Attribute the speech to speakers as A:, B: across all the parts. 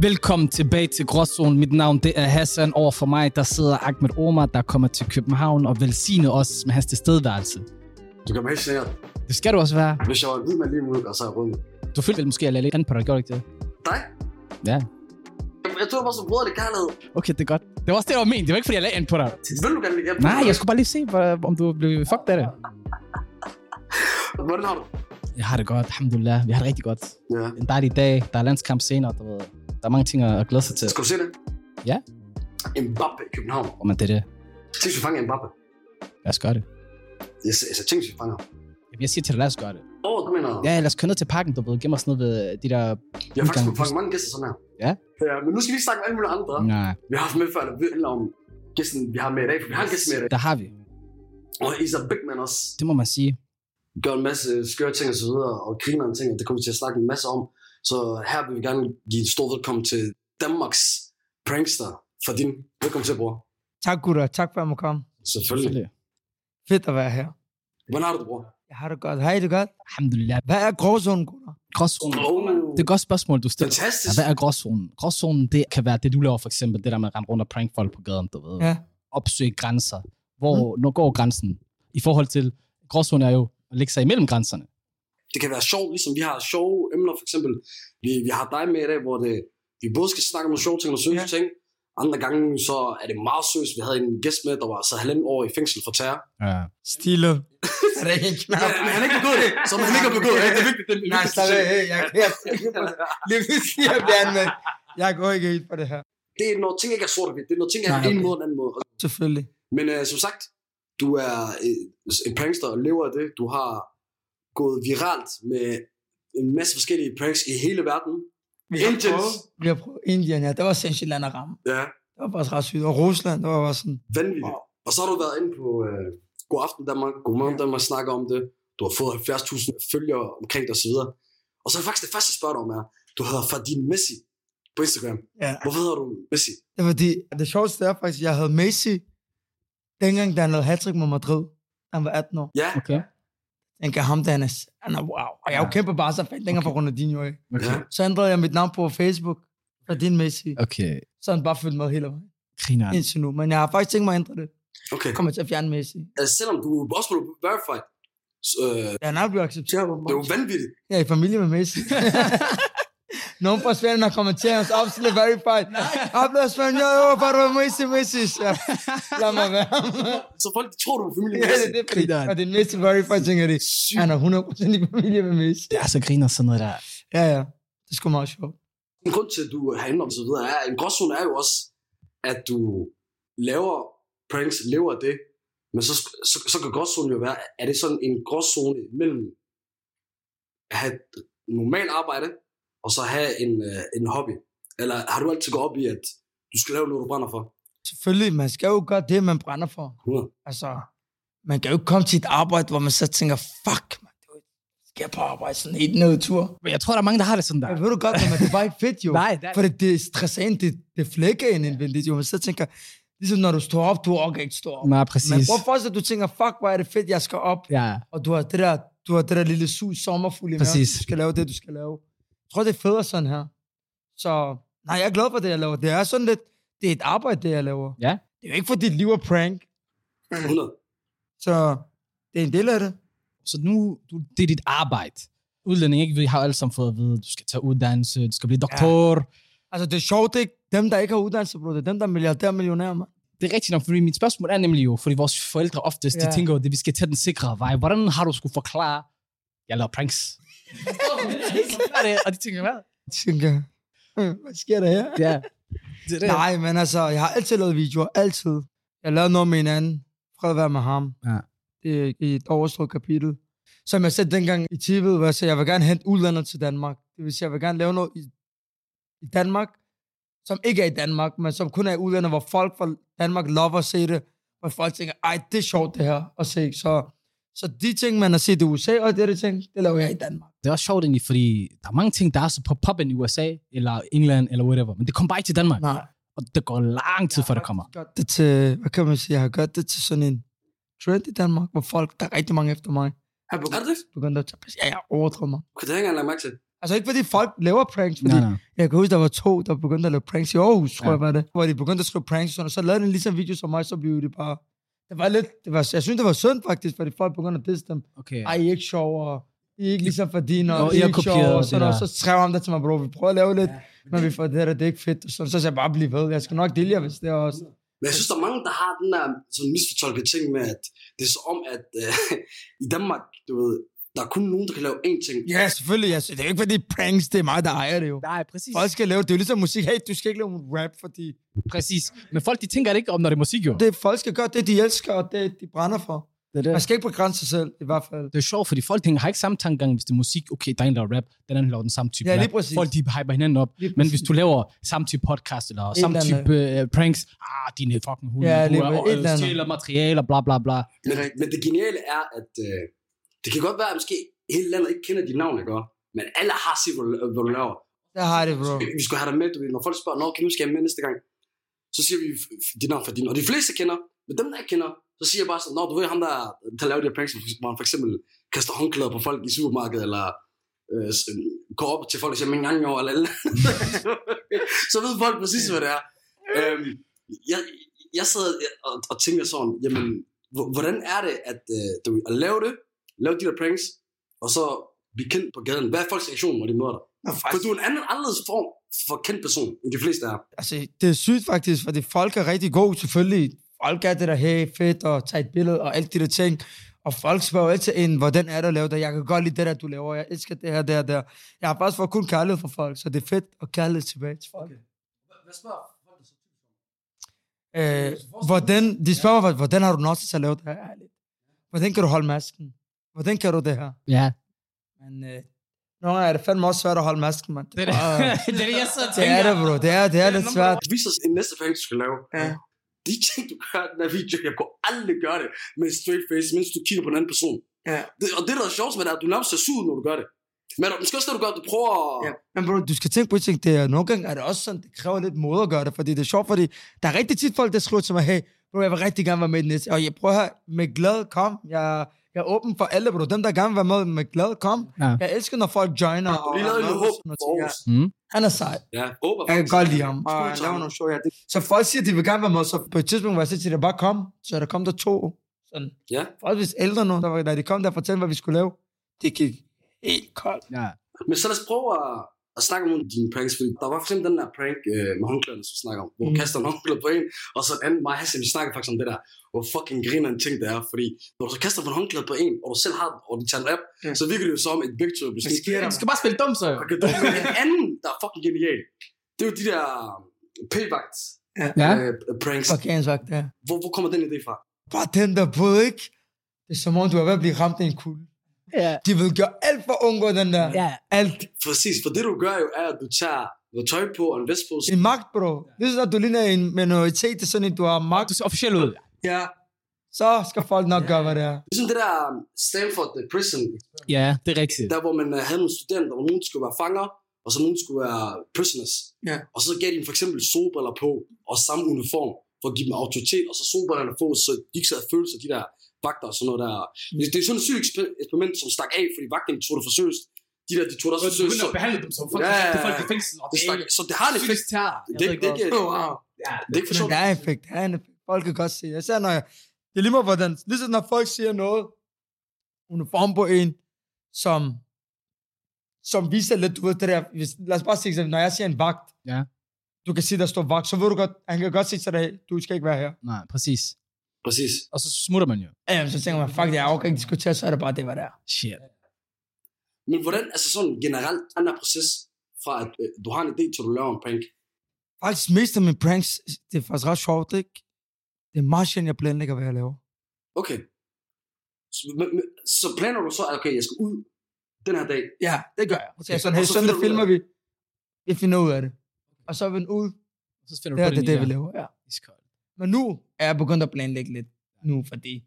A: Velkommen tilbage til Gråzonen. Mit navn det er Hassan. Over for mig der sidder Ahmed Omar, der kommer til København og velsigne os med hans tilstedeværelse.
B: Du kan helt sikkert.
A: Det skal du også være.
B: Hvis jeg var en hvid mand lige ud, og så er jeg rundt.
A: Du følte vel måske, at jeg lagde lidt an på dig, gjorde du ikke det?
B: Dig?
A: Ja.
B: Jeg tror, det var så brødre, det kærlighed.
A: Okay, det er godt. Det var også det, der var ment. Det var ikke, fordi jeg lagde an på dig.
B: Vil du gerne lige hjælpe
A: Nej, jeg skulle bare lige se, hvor- om du blev fucked af det.
B: skulle... Hvordan har du?
A: Jeg har det godt, alhamdulillah. Vi har det rigtig godt.
B: Ja.
A: En dejlig dag. Der er landskamp senere, du ved. Der er mange ting at at glæde sig til.
B: Skal du se det?
A: Ja.
B: Mbappe i København.
A: Hvor man det er det.
B: Tænk, hvis vi fanger Mbappe.
A: Lad os gøre det.
B: Jeg s- altså, tænk, hvis vi fanger ham.
A: Jeg siger til dig, lad os gøre det.
B: Åh, oh, du mener...
A: Ja, lad os køre ned til parken, du ved. Gemme os ned ved de der...
B: jeg har faktisk
A: udgang.
B: fået fanget mange gæster sådan her.
A: Ja.
B: ja. men nu skal vi ikke snakke med alle mulige andre.
A: Nej,
B: Vi har haft med før, der handler om gæsten, vi har med i dag. For vi har en gæst med i dag.
A: der har vi.
B: Og Isa Bigman også
A: Det må man sige.
B: gør en masse skøre ting og så videre, og griner en ting, og det kommer vi til at snakke en masse om. Så her vil vi gerne give en stor velkommen til Danmarks prankster for din. Velkommen til, bror.
C: Tak gutter, tak for at jeg må komme.
B: Selvfølgelig.
C: Fedt at være her.
B: Hvordan har du det, bror?
C: Jeg har det godt. Har I det godt?
A: Alhamdulillah.
C: Hvad er gråzonen, gutter?
A: Gråzonen.
B: Oh,
A: Det er et godt spørgsmål, du stiller. Ja,
B: øh, fantastisk.
A: hvad er gråzonen? Gråzonen, det kan være det, du laver for eksempel, det der med at rende rundt og prank folk på gaden, du ved.
C: Ja.
A: Opsøge grænser. Hvor, mm. når går grænsen? I forhold til, gråzonen er jo at lægge sig imellem grænserne.
B: Det kan være sjovt, ligesom vi har sjove emner, for eksempel. Vi, vi har dig med i dag, hvor det, vi både skal snakke om nogle sjove ting og søde
C: Ja.
B: ting. Andre gange, så er det meget søst. Vi havde en gæst med, der var så halvanden år i fængsel for terror.
A: Ja.
C: Stille. er det ikke
B: Ja, men han har ikke begået det, som han ikke har begået det. Det er vigtigt. Det er
C: Nej,
B: vigtigt
C: slap
B: at
C: af.
B: sige.
C: Hey, jeg, jeg, jeg, lige pludselig jeg bliver anmeldt. Jeg går ikke helt på det her.
B: det er, når ting ikke er sort og hvidt. Det er, når ting er
C: Nej,
B: en
C: okay.
B: måde og en anden måde.
C: Selvfølgelig.
B: Men øh, som sagt, du er øh, en prankster og lever af det. Du har gået viralt med en masse forskellige pranks i hele verden.
C: Vi har
B: Indians.
C: prøvet- Vi har prøvet Indien, ja. Det var sindssygt land at ramme.
B: Ja,
C: Det var faktisk ret sygt. Og Rusland, det var bare sådan...
B: vanvittigt. Og så har du været inde på øh, God Aften Danmark, God Morgen Danmark, snakker om det. Du har fået 70.000 følgere omkring dig osv. Og så er faktisk det første, jeg spørger dig om er, du hedder Fadil Messi på Instagram.
C: Ja.
B: Hvorfor hedder du Messi?
C: Det var fordi, det sjoveste er faktisk, at jeg havde Messi, dengang da han lavede hat mod Madrid. Han var 18 år.
B: Ja,
A: Okay.
C: Jeg tænkte, ham der, han er, han er wow. Og jeg er jo
A: Ja.
C: kæmpe bare så fandt længere
A: Okay.
C: okay. fra Ronaldinho af.
B: Okay.
C: Så ændrede jeg mit navn på Facebook. Og din Messi.
A: Okay.
C: Så har han bare følt med hele vejen.
A: Griner.
C: Indtil nu. Men jeg har faktisk tænkt mig at ændre det.
B: okay.
C: Jeg kommer til at fjerne Messi.
B: Altså, selvom du også blev verified, så, øh,
C: Ja, han er blevet accepteret.
B: det er jo vanvittigt.
C: Jeg er i familie med Messi. Nogen fra Sverige, der kommenterer hans opstil er verified. Oplever Sverige, jo, jo, bare du er Messi, Messi. Så lad mig være.
B: Så folk de tror, du er familie med
C: Ja,
B: Messi.
C: det er det, fordi,
A: Grineren.
C: og det er Messi verified, tænker de.
B: Sygt.
C: Han er 100% i familie med Messi.
A: Det er så griner sådan noget der.
C: Ja, ja. Det er sgu meget sjovt.
B: En grund til, at du har indrømt og så videre, er, en gråzone er jo også, at du laver pranks, lever af det, men så, så, så kan gråzonen jo være, er det sådan en gråzone mellem at have et normalt arbejde, og så have en, øh, en hobby? Eller har du altid gået op i, at du skal lave noget, du brænder for?
C: Selvfølgelig, man skal jo gøre det, man brænder for.
B: 100.
C: Altså, man kan jo ikke komme til et arbejde, hvor man så tænker, fuck, man, du skal jeg på arbejde sådan helt nedtur.
A: Men Jeg tror, der er mange, der har det sådan der.
C: Jeg ved du godt, men det er bare ikke fedt, jo.
A: Nej, det er-
C: For det, det stresser ind, det, det flækker ind indvendigt, jo. Men så tænker ligesom når du står op, du orker ikke stå op.
A: Nej,
C: Men
A: præcis.
C: prøv først, at du tænker, fuck, hvor er det fedt, jeg skal op.
A: Ja,
C: Og du har det der, du har det der lille sug sommerfugl i maven.
A: Præcis.
C: Du skal lave det, du skal lave. Jeg tror, det er federe sådan her. Så nej, jeg er glad for det, jeg laver. Det er sådan lidt, det er et arbejde, det jeg laver.
A: Ja.
C: Det er jo ikke for dit liv er prank. Mm.
B: 100.
C: Så det er en del af det.
A: så nu, du, det er dit arbejde. Udlænding, ikke? Vi har alle sammen fået at vide, du skal tage uddannelse, du skal blive doktor. Ja.
C: Altså, det er sjovt, det er ikke dem, der ikke har uddannelse, bro. Det er dem, der er milliardærer og millionærer, mand.
A: Det er rigtigt nok, fordi mit spørgsmål er nemlig jo, fordi vores forældre oftest, ja. de
C: Ja.
A: tænker jo, at vi skal tage den sikre vej. Hvordan har du skulle forklare, jeg laver pranks? Hvad er det? Og de tænker, hvad?
C: Jeg tænker, "Hmm, hvad sker der her?
A: Ja. Det er det.
C: Nej, men altså, jeg har altid lavet videoer. Altid. Jeg lavede noget med en anden. Fred at være med ham.
A: Ja.
C: Det er et overstået kapitel. Som jeg sagde dengang i TV'et, hvor jeg sagde, jeg vil gerne hente udlandet til Danmark. Det vil sige, jeg vil gerne lave noget i, i Danmark, som ikke er i Danmark, men som kun er i udlandet, hvor folk fra Danmark lover at se det. Hvor folk tænker, ej, det er sjovt det her at se. Så, så de ting, man har set i USA, og det er de ting, det laver jeg i Danmark.
A: Det er også sjovt egentlig, fordi der er mange ting, der er så på poppen i USA, eller England, eller whatever. Men det kommer bare ikke til Danmark. Nej.
C: Nej.
A: Og det går lang tid, før det kommer.
C: Jeg har gjort det til, hvad kan man sige, jeg har gjort det til sådan en trend i Danmark, hvor folk, der er rigtig mange efter mig,
B: Er det det?
C: begyndte at tage pas. Ja, jeg overdrømmer.
B: Okay, det har jeg ikke engang lagt mærke til.
C: Altså ikke fordi folk laver pranks, fordi
A: Nej, nej.
C: jeg kan huske, der var to, der begyndte at lave pranks i Aarhus, tror
A: Ja.
C: jeg var det, hvor de begyndte at skrive pranks, og sådan, og så lavede de lige sådan en video som mig, så blev det bare, det var lidt, det var, jeg synes, det var synd faktisk, fordi folk begyndte at disse dem.
A: Okay.
C: Ej, I er ikke sjove, og I er ikke ligesom
A: Nå,
C: fordiende, og
A: I
C: I er
A: har
C: ikke
A: kopieret
C: sjove, og sådan,
A: det
C: og
A: der.
C: så skrev han der til mig, bro, vi prøver at lave lidt, men vi får det der, det er ikke fedt, og sådan, så sagde jeg bare, bliv ved, jeg skal nok dele jer, hvis det er også.
B: Men jeg synes, der er mange, der har den der sådan misfortolkede ting med, at det er så om, at øh, i Danmark, du ved, der er kun nogen, der kan lave én ting.
C: Ja, selvfølgelig, jeg synes, det er ikke fordi pranks, det er mig, der ejer det jo.
A: Nej, præcis.
C: Folk skal lave, det er jo ligesom musik, hey, du skal ikke lave rap, fordi
A: præcis. Men folk, de tænker det ikke om, når det er musik, jo. Det,
C: det, folk skal gøre det, de elsker, og det, de brænder for.
A: det,
C: Man
A: det.
C: skal ikke begrænse sig selv, i hvert fald.
A: det er sjovt, fordi folk tænker, har ikke samme tankegang, hvis det er musik. Okay, der er en, der laver rap, den anden laver den samme type
C: Ja, lige
A: rap.
C: præcis.
A: Folk, de hyper hinanden op.
C: Lige
A: Men
C: præcis.
A: hvis du laver samme type podcast eller samme
C: eller
A: type øh, pranks, ah, dine fucking hunde,
C: Ja,
A: du
C: lige
A: er,
C: præcis. Et eller
A: øh,
C: andet.
A: stjæler materialer, bla bla bla.
B: Men, men det geniale er, at øh, det kan godt være, at måske hele landet ikke kender dit navn, ikke? også? Men alle har set, hvad du- hvad du laver.
C: Der har jeg det, bro.
B: Vi skulle have dig med, du ved. Når folk spørger, når kan du skal jeg have med næste gang? Så siger vi f- f- dit navn for din. Og de fleste kender, men dem, der ikke kender, så siger jeg bare sådan, når du ved ham, der, der laver de her pranks, hvor han for eksempel kaster håndklæder på folk i supermarkedet, eller øh, s- går op til folk og siger, min gang over, eller så ved folk præcis, hvad det er. Øhm, jeg, jeg sad og, og tænker sådan, jamen, hvor- hvordan er det, at øh, du, ved, at lave det, lave de der pranks, og så blive kendt på gaden? Hvad er folks reaktion, når de møder dig? For du er en anden, anderledes form for kendt person, end de fleste er.
C: Altså, det er sygt faktisk, fordi folk er rigtig gode, selvfølgelig. Folk er det der, hey, fedt, og tage et billede, og alt de der ting. Og folk spørger jo altid ind, hvordan er det at lave det? Jeg kan godt lide det der, du laver. Jeg elsker det her, det her, det her. Jeg har faktisk fået kun kærlighed fra folk, så det er fedt at kærlighed tilbage til folk.
B: Hvad spørger folk så?
C: Øh, hvordan, de spørger mig, hvordan har du nået til at lave det her? Ærligt. Hvordan kan du holde masken? Hvordan kan du det her?
A: Ja,
C: Men øh, nogle gange er det fandme også svært at holde masken, mand.
A: det er det,
C: bare-
A: det, er det jeg sidder og
C: det
A: tænker.
C: er det, bro. Det er, det er lidt svært.
B: Vis os en næste prank, du skal lave.
C: Ja.
B: De ting, du gør i den her video, jeg kunne aldrig gøre det med en straight face, mens du kigger på en anden person.
C: Ja.
B: Det, og det, der er sjovt med det, er, at du nærmest ser sur ud, når du gør det. Men er der- måske også, når du gør det, du prøver at...
C: Ja. Men bro, du skal tænke på, at det er, nogle gange er det også sådan, det kræver lidt mod at gøre det, fordi det er sjovt, fordi der er rigtig tit folk, der skriver til mig, hey, bro, jeg vil rigtig gerne være med i den næste, og jeg prøver her med glad, kom, jeg, jeg er åben for alle, bro, dem der gerne vil være med med glad, kom.
A: Ja.
C: Jeg elsker, når folk joiner.
B: Du lige lavede en håb for Aarhus.
A: Mm.
C: Han er sej.
B: Ja, håber
C: Jeg kan godt lide ham.
B: Skud
C: Og han
B: til
C: laver
B: ham.
C: nogle show, ja. Det- Så folk siger, at de vil gerne være med, så på et tidspunkt var jeg så til, at bare kom. Så der kom der to. Sådan.
B: Ja.
C: Folk hvis ældre nu, der var, da de kom der og fortalte, hvad vi skulle lave. Det gik helt koldt.
A: Ja.
B: Men så lad os prøve at, at snakke om nogle af dine pranks, fordi der var for eksempel den der prank øh, med håndklæderne, som vi snakker om, hvor du
C: Mm.
B: kaster en håndklæde på en, og så en anden mig, Hassan, vi snakker faktisk om det der, hvor fucking griner en ting det er, fordi når du så kaster en håndklæde på en, og du selv har den, og de tager en app,
C: Ja.
B: så virker det jo som et begge to bliver skidt.
A: Du skal bare spille dum, så. jo.
B: Og kan du med en anden, der er fucking genial, det er jo de der payback
A: Ja.
B: øh, pranks.
C: Parkeringsvagt, ja.
B: Hvor, hvor kommer den idé fra?
C: Bare den der på, ikke? Det er som om, du er ved at blive ramt af en kugle.
A: Ja.
C: De vil gøre alt for at undgå den der.
A: Ja.
C: Alt.
B: Præcis, for det du gør jo er, at du tager noget tøj på og en vest på,
C: En magt, bro. Lige så snart du ligner en minoritet, det er sådan, at du har magt.
A: Du ser officielt ud.
C: Ja. Så skal folk nok gøre, hvad det er.
B: ligesom det der um, Stanford the Prison
A: Ja, det er rigtigt.
B: der hvor man øh, havde nogle studenter, hvor nogen skulle være fanger, og så nogen skulle være prisoners.
C: Ja.
B: Og så gav de dem for eksempel solbriller på, og samme uniform, for at give dem autoritet, og så solbrillerne på, så de ikke sad følelser, de der vagter og sådan noget der.
A: Mm.
B: Det, det er sådan et sygt eksper- eksperiment, som stak af, fordi vagterne tog det for seriøst. De der, de tog det også for seriøst. Så,
A: behandle dem som
B: Ja, ja, ja.
A: fængsel. Og
B: det stak, så det har en effekt.
A: psykisk terror. Jeg
B: Det,
A: ved
B: det, det, er
A: ikke,
B: ikke- det er ikke for
C: Men
B: sjovt.
C: der er en effekt, der er en effekt. Folk kan godt se. Især når jeg, det er lige meget hvordan, lige så når folk siger noget, uniform på en, som, som viser lidt, du ved det der, hvis, lad os bare sige eksempel, når jeg siger en vagt,
A: Ja.
C: du kan sige, der står vagt, så ved du godt, han kan godt se til dig, du skal ikke være her.
A: hvor- Nej, præcis.
B: Præcis.
A: Og så smutter man jo.
C: Jamen, så tænker man, fuck det, jeg orker ikke diskutere, så er det bare det, hvad det er.
A: Shit.
B: Men hvordan, altså sådan generelt, andre proces fra at øh, du har en idé til at du laver en prank.
C: Faktisk mest af mine pranks, det er faktisk ret sjovt, ikke? Det er meget sjældent, jeg planlægger, hvad jeg laver.
B: Okay. Så, men, men, så planer du så, at okay, jeg skal ud den her dag,
C: Ja, det gør jeg. Så jeg er sådan,
B: Og
C: hey,
B: så
C: søndag
B: finder du ud af
C: filmer vi. Vi finder ud af det. Og så er vi ud.
A: Og så finder du
C: Det
A: på
C: er det, det vi
A: nye.
C: laver, ja.
A: Iskold.
C: Men nu er jeg begyndt at planlægge lidt nu, fordi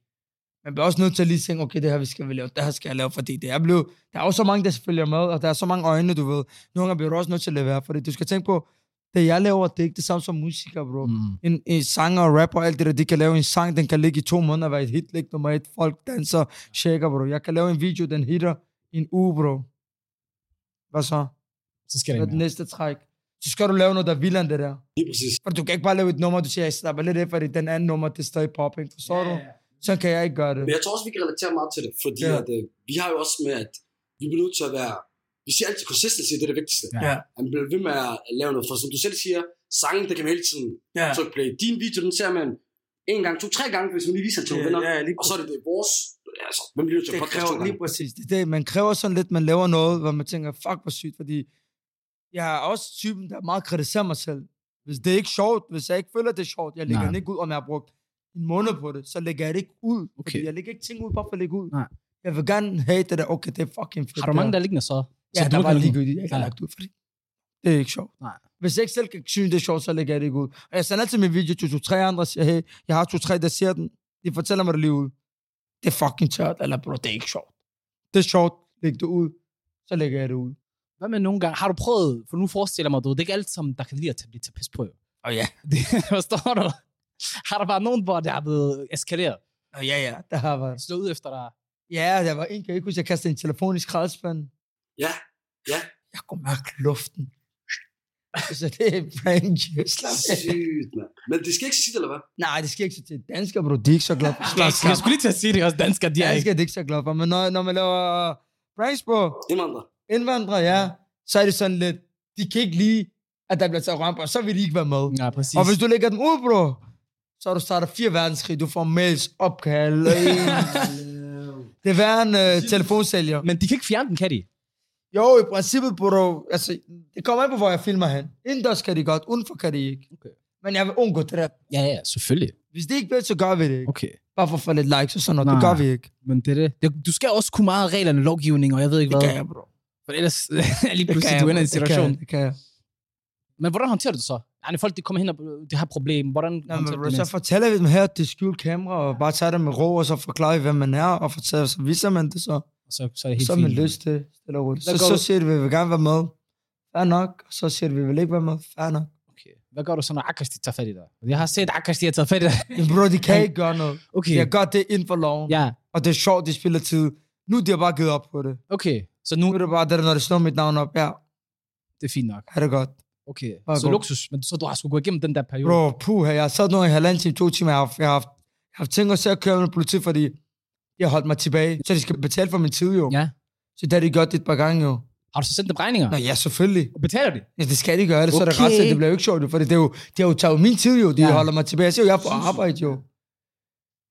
C: man bliver også nødt til at lige tænke, okay, det her vi skal vi lave, det her skal jeg lave, fordi det er blevet, der er jo så mange, der følger med, og der er så mange øjne, du ved. Nogle gange bliver du også nødt til at lade være, fordi du skal tænke på, det jeg laver, det er ikke det samme som musiker, bro. Mm.
A: Mm.
C: En, en sanger og rapper og alt det der, de kan lave en sang, den kan ligge i to måneder og være et hit, ligge nummer et, folk danser, shaker, bro. Jeg kan lave en video, den hitter i en uge, bro. Hvad så?
A: Så skal det
C: Hvad er
A: ikke
C: det
A: mere.
C: næste træk? Så skal du lave noget, der er vildere end det der.
B: Lige præcis.
C: For du kan ikke bare lave et nummer, du siger, jeg slapper lidt af, fordi den anden nummer, det er stadig popping. Forstår yeah. du? Sådan kan jeg ikke gøre det.
B: Men jeg tror også, vi kan relatere meget til det, fordi
C: Ja.
B: ja. at, øh, vi har jo også med, at vi bliver nødt til at være... Vi siger altid, consistency det er det vigtigste.
A: Ja.
D: Ja.
B: At man bliver ved med at lave noget, for som du selv siger, sangen, det kan man hele tiden
D: Ja.
B: trykke play. Din video, den ser man en gang, to, tre gange, hvis man lige viser den til nogle venner.
D: Ja, lige
B: Og så er det, det er vores... Altså, man bliver nødt til
D: det
B: at podcast to
D: kræver lige
B: gange.
D: præcis det.
C: det, er det, man kræver sådan lidt, man laver noget, hvor man tænker, fuck, hvor sygt, fordi jeg er også typen, der meget kritiserer mig selv. Hvis det er ikke sjovt, hvis jeg ikke føler, det er sjovt, jeg lægger
A: Nej.
C: Nej. den ikke ud, om jeg har brugt en måned på det, så lægger jeg det ikke ud. Okay.
A: Okay.
C: Fordi jeg lægger ikke ting ud, bare for at lægge ud.
A: Nej.
C: Jeg vil gerne have det der, okay, det er fucking fedt.
A: Har du
C: det
A: mange,
C: her.
A: der er liggende så?
C: Ja,
A: så
C: der var
A: lige...
C: ligegyldigt, jeg ikke har
A: Ja.
C: lagt ud, fordi det er ikke sjovt.
A: Nej.
C: Hvis jeg ikke selv kan synes, det er sjovt, så lægger jeg det ikke ud. Og jeg sender altid min video til 2-3 andre og siger, hey, jeg har 2-3, der ser den. De fortæller mig det lige ud. Det er fucking tørt, eller bro, det er ikke sjovt. Det er sjovt, læg det ud. Så lægger jeg det ud.
A: Hvad med nogle gange? Har du prøvet, for nu forestiller jeg mig, du, det er ikke alt som der kan lide at blive til pis på. jo.
C: Og ja,
A: Det, forstår du? Har der været nogen, hvor det har blevet eskaleret?
C: og ja, ja, der har været.
A: Slået ud efter
C: Ah,
A: dig?
C: Ja, der var en, kan jeg ikke huske, jeg kastede en telefon i skraldespanden.
B: Ja, ja.
C: Jeg kunne mærke luften. så det er prank, slap af.
B: Sygt, mand. Men det skal ikke sige eller hvad?
C: Nej, det sker ikke så til danskere, bro. De er ikke så glade for skraldespanden.
A: Jeg skulle lige til at sige det også, danskere, de er
C: Jeg
A: ikke.
C: skal det ikke så glad for, men når, når man laver pranks på
B: Indvandrer.
C: indvandrere, ja, så er det sådan lidt, de kan ikke lide, at der bliver taget ramper, og så vil de ikke være med. Ja,
A: Ja, præcis.
C: og hvis du lægger dem ud, bro, så har du startet fire verdenskrig, du får mails, opkald, og en, det er hver en uh, telefonsælger.
A: Men de kan ikke fjerne den, kan de?
C: Jo, i princippet, bro, altså, det kommer an på, hvor jeg filmer hen. Indendørs kan de godt, udenfor kan de ikke.
A: Okay.
C: Men jeg vil undgå det der.
A: Ja, ja, selvfølgelig.
C: Hvis det ikke bliver, så gør vi det ikke.
A: Okay.
C: Bare for at få lidt likes og sådan noget, det
A: Nej.
C: gør vi ikke.
A: Men det er det. det. Du skal også kunne meget af reglerne, lovgivning, og jeg ved ikke
C: Det
A: hvad.
C: kan jeg, bro.
A: For ellers er lige
C: Det kan
A: pludselig,
C: jeg,
A: du ender i en
C: bro. Det kan
A: situation.
C: jeg, Det kan jeg.
A: Men hvordan håndterer du det så? Er det folk, der kommer hen og øh, de har et problem? Hvordan
C: Nå, men
A: håndterer du
C: bro,
A: det?
C: så
A: næste?
C: fortæller vi dem her, at det er skjult kamera, og bare tager det med ro, og så forklarer vi, hvem man er, og fortæller, så viser man det så,
A: Så, så er det helt
C: så er man
A: fint.
C: lyst til, stille og roligt.
A: Hvad
C: Så,
A: går
C: så
A: du-
C: siger de, vi vil gerne være med. Fair nok. Og så siger de, vi vil ikke være med. Fair nok.
A: Okay. Hvad gør du så, når Akash de tager fat i dig? Jeg har set Akash, de har taget fat i dig.
C: Men bro, de kan ikke gøre noget.
A: Okay.
C: De har gjort det inden for loven,
A: Ja,
C: og det er sjovt, de spiller tid. Nu er de har bare givet op på det.
A: okay. Så nu
C: Nu er det bare det, der, når de slår mit navn op. Ja,
A: det er fint nok.
C: er det godt.
A: Okay.
C: Bare
A: Så
C: gå.
A: luksus. Men så du har sgu gået igennem den der periode.
C: Bro, puha, jeg har sad nu i halvanden time, to timer, jeg har, jeg har, haft, jeg har haft ting at se at køre med politi, fordi jeg holdt mig tilbage. Så de skal betale for min tid, jo.
A: Ja.
C: Så det har de gjort det et par gange, jo.
A: Har du så sendt dem regninger?
C: Nå, ja, selvfølgelig.
A: Og betaler de?
C: Ja, det skal de gøre, ellers okay. er det
A: Okay.
C: ret det bliver jo ikke sjovt, jo, for det er jo, det er jo taget min tid jo, de
A: Ja.
C: ja. holder mig tilbage. Jeg siger jo, jeg er på arbejde jo.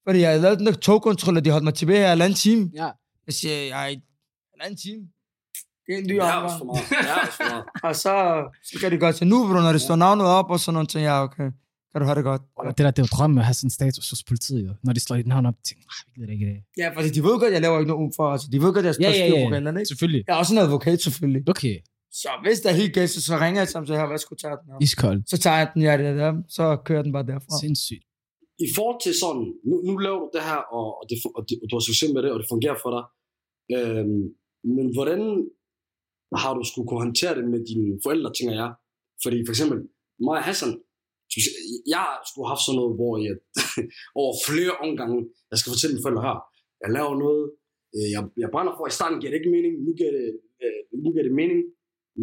C: Fordi jeg lavede den der togkontrol, og de holdt mig tilbage i en anden time.
A: Ja.
C: Jeg siger, jeg er i en anden time. Det er en dyr
B: Ja,
C: omgang.
B: også for meget. Ja, også for meget.
C: Og så, så kan de godt sige, nu bro, når det står navnet op og sådan noget, så ja, okay, kan du have det godt.
A: Og det der, det er jo drømmen at have sådan en status hos politiet, jo. Når de slår dit navn op, tænker jeg, "Ah, vi gider det ikke i dag.
C: Ja, fordi de ved godt, jeg laver ikke noget udenfor, altså de ved godt, jeg
A: Ja,
C: står
A: ja,
C: styr på
A: ja, ja.
C: reglerne, ikke?
A: Selvfølgelig.
C: Jeg er også en advokat selvfølgelig.
A: Okay.
C: Så hvis der er helt gæst, så ringer jeg til ham, så her, hvad skulle tage den her?
A: Iskold.
C: Så tager jeg den, ja, det der, så kører den bare derfra.
A: Sindssygt.
B: I forhold til sådan, nu, nu laver du det her, og, og, det, fu- og, det, og du har succes med det, og det fungerer for dig. Øhm, men hvordan har du skulle kunne håndtere det med dine forældre, tænker jeg? Fordi for eksempel, mig og Hassan, synes- jeg skulle have haft sådan noget, hvor jeg over flere omgange, jeg skal fortælle mine forældre her, jeg laver noget, øh, jeg, jeg brænder for, i starten giver det ikke mening, nu giver det, øh, nu giver det mening,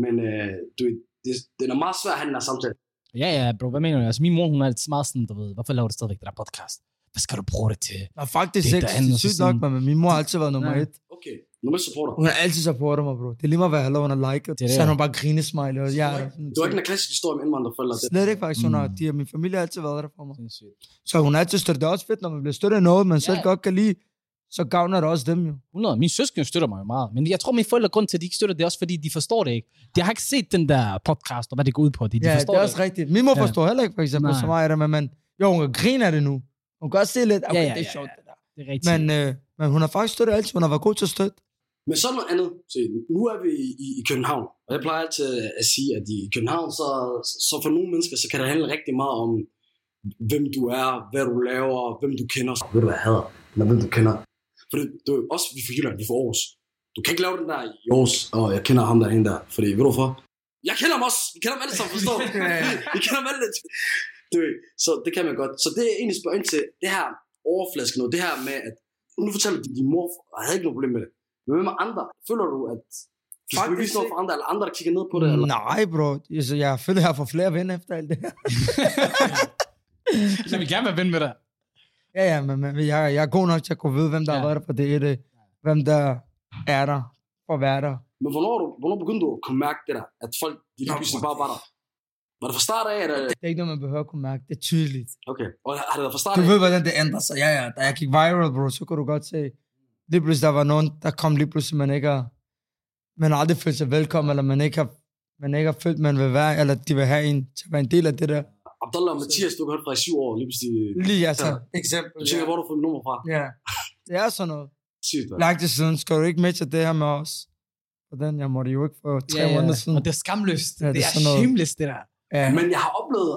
B: men øh, du, ved, det, den er meget svært at have den her samtale.
A: Ja, ja, bro, hvad mener du? Altså, min mor, hun er altid meget sådan, du ved, hvorfor laver du stadigvæk den der podcast? Hvad skal du bruge det til?
C: Nå, faktisk
A: Det er
C: ikke.
A: der
C: Det
A: andet,
C: er
A: så
C: sygt
A: sådan-
C: nok, men min mor har altid været nummer
A: Nej.
C: et.
B: Okay, nu er jeg supporter.
C: Hun har altid supportet mig, bro. Det er lige meget, hvad jeg laver, hun har liket.
A: Det er det,
C: Så har
A: ja.
C: hun bare grinesmiley. Og jeg,
B: Det var ikke en klassisk historie om indvandrerforældre. Det.
C: Slet ikke faktisk, hun har,
A: Mm.
C: de, min familie har altid været der for mig.
A: Sindssygt.
C: Så hun har altid støttet. Det er også fedt, når man bliver støttet af noget, man selv
A: Ja.
C: godt kan lide. Så gavner det også dem jo.
A: 100. Min søskende støtter mig jo meget. Men jeg tror, mine forældre, grund til, at de ikke støtter det, er også fordi, de forstår det ikke. De har ikke set den der podcast, og hvad det går ud på. De, de
C: ja,
A: forstår
C: det er også rigtigt. Min mor
A: Ja.
C: forstår heller ikke, for eksempel,
A: Nej.
C: så meget af det, men man, jo, hun kan grine af det nu. Hun kan også se lidt, okay,
A: Ja, ja,
C: det er
A: ja,
C: sjovt, det der.
A: Det er rigtigt.
C: Men, øh, men hun har faktisk støttet altid. Hun har været god til at støtte.
B: Men så noget andet. Se, nu er vi i, i København, og jeg plejer altid at sige, at i København, så, så for nogle mennesker, så kan det handle rigtig meget om, hvem du er, hvad du laver, hvem du kender. Ved du, hvad jeg hader? Eller hvem du kender? For det, du, også vi er fra Jylland, vi er fra Aarhus. Du kan ikke lave den der i Aarhus, og jeg kender ham der, hende der. Fordi, ved du hvorfor? Jeg kender dem også. Vi kender dem alle sammen, forstår du? Vi kender dem alle lidt. Du, ved, så det kan man godt. Så det er egentlig spørger ind til, det her overflaske noget, det her med, at nu fortæller du, at din mor havde ikke noget problem med det. Men hvem er andre? Føler du, at Du skulle ikke
C: Faktisk Mm.
B: vise noget for andre, eller andre, der kigger ned på det, eller?
C: Nej, bro. Altså, jeg føler, jeg har fået flere venner efter alt det her.
A: Jeg vil gerne være ven med dig.
C: Ja, ja, men, men jeg, jeg er god nok til at kunne vide, hvem der ja.
A: Ja.
C: har været der på det ene, hvem der er der for at være der.
B: Men hvornår, er du- hvornår begyndte du at kunne mærke det der? At folk, de lige
C: Nå,
B: pludselig
C: hvor-
B: bare var der. Var det fra start af, eller?
C: Det er ikke noget, man behøver at kunne mærke. Det er tydeligt.
B: Okay. Og har det været fra start
C: Du
B: af?
C: ved, hvordan det ændrer sig. Ja, ja. Da jeg gik viral, bro, så kunne du godt se, lige pludselig der var nogen, der kom lige pludselig, man ikke har, man har aldrig følt sig velkommen, eller man ikke har, man ikke har følt, man vil være, eller de vil have en til at være en del af det der.
B: Abdallah og Mathias, du har hørt fra i syv år, lige pludselig.
C: Lige altså,
B: Ja.
C: eksempel.
B: Du tænker, hvor har du fået mit nummer fra?
C: Ja. Det er sådan noget.
B: Sygt, mand.
C: Langt til siden, skal du ikke med til det her med os? Hvordan? Jeg måtte jo ikke for tre
A: Ja, ja.
C: måneder siden.
A: Og det er skamløst.
C: Ja,
A: det, det er,
C: sådan noget.
A: shameless, det der.
C: Ja.
B: Men jeg har oplevet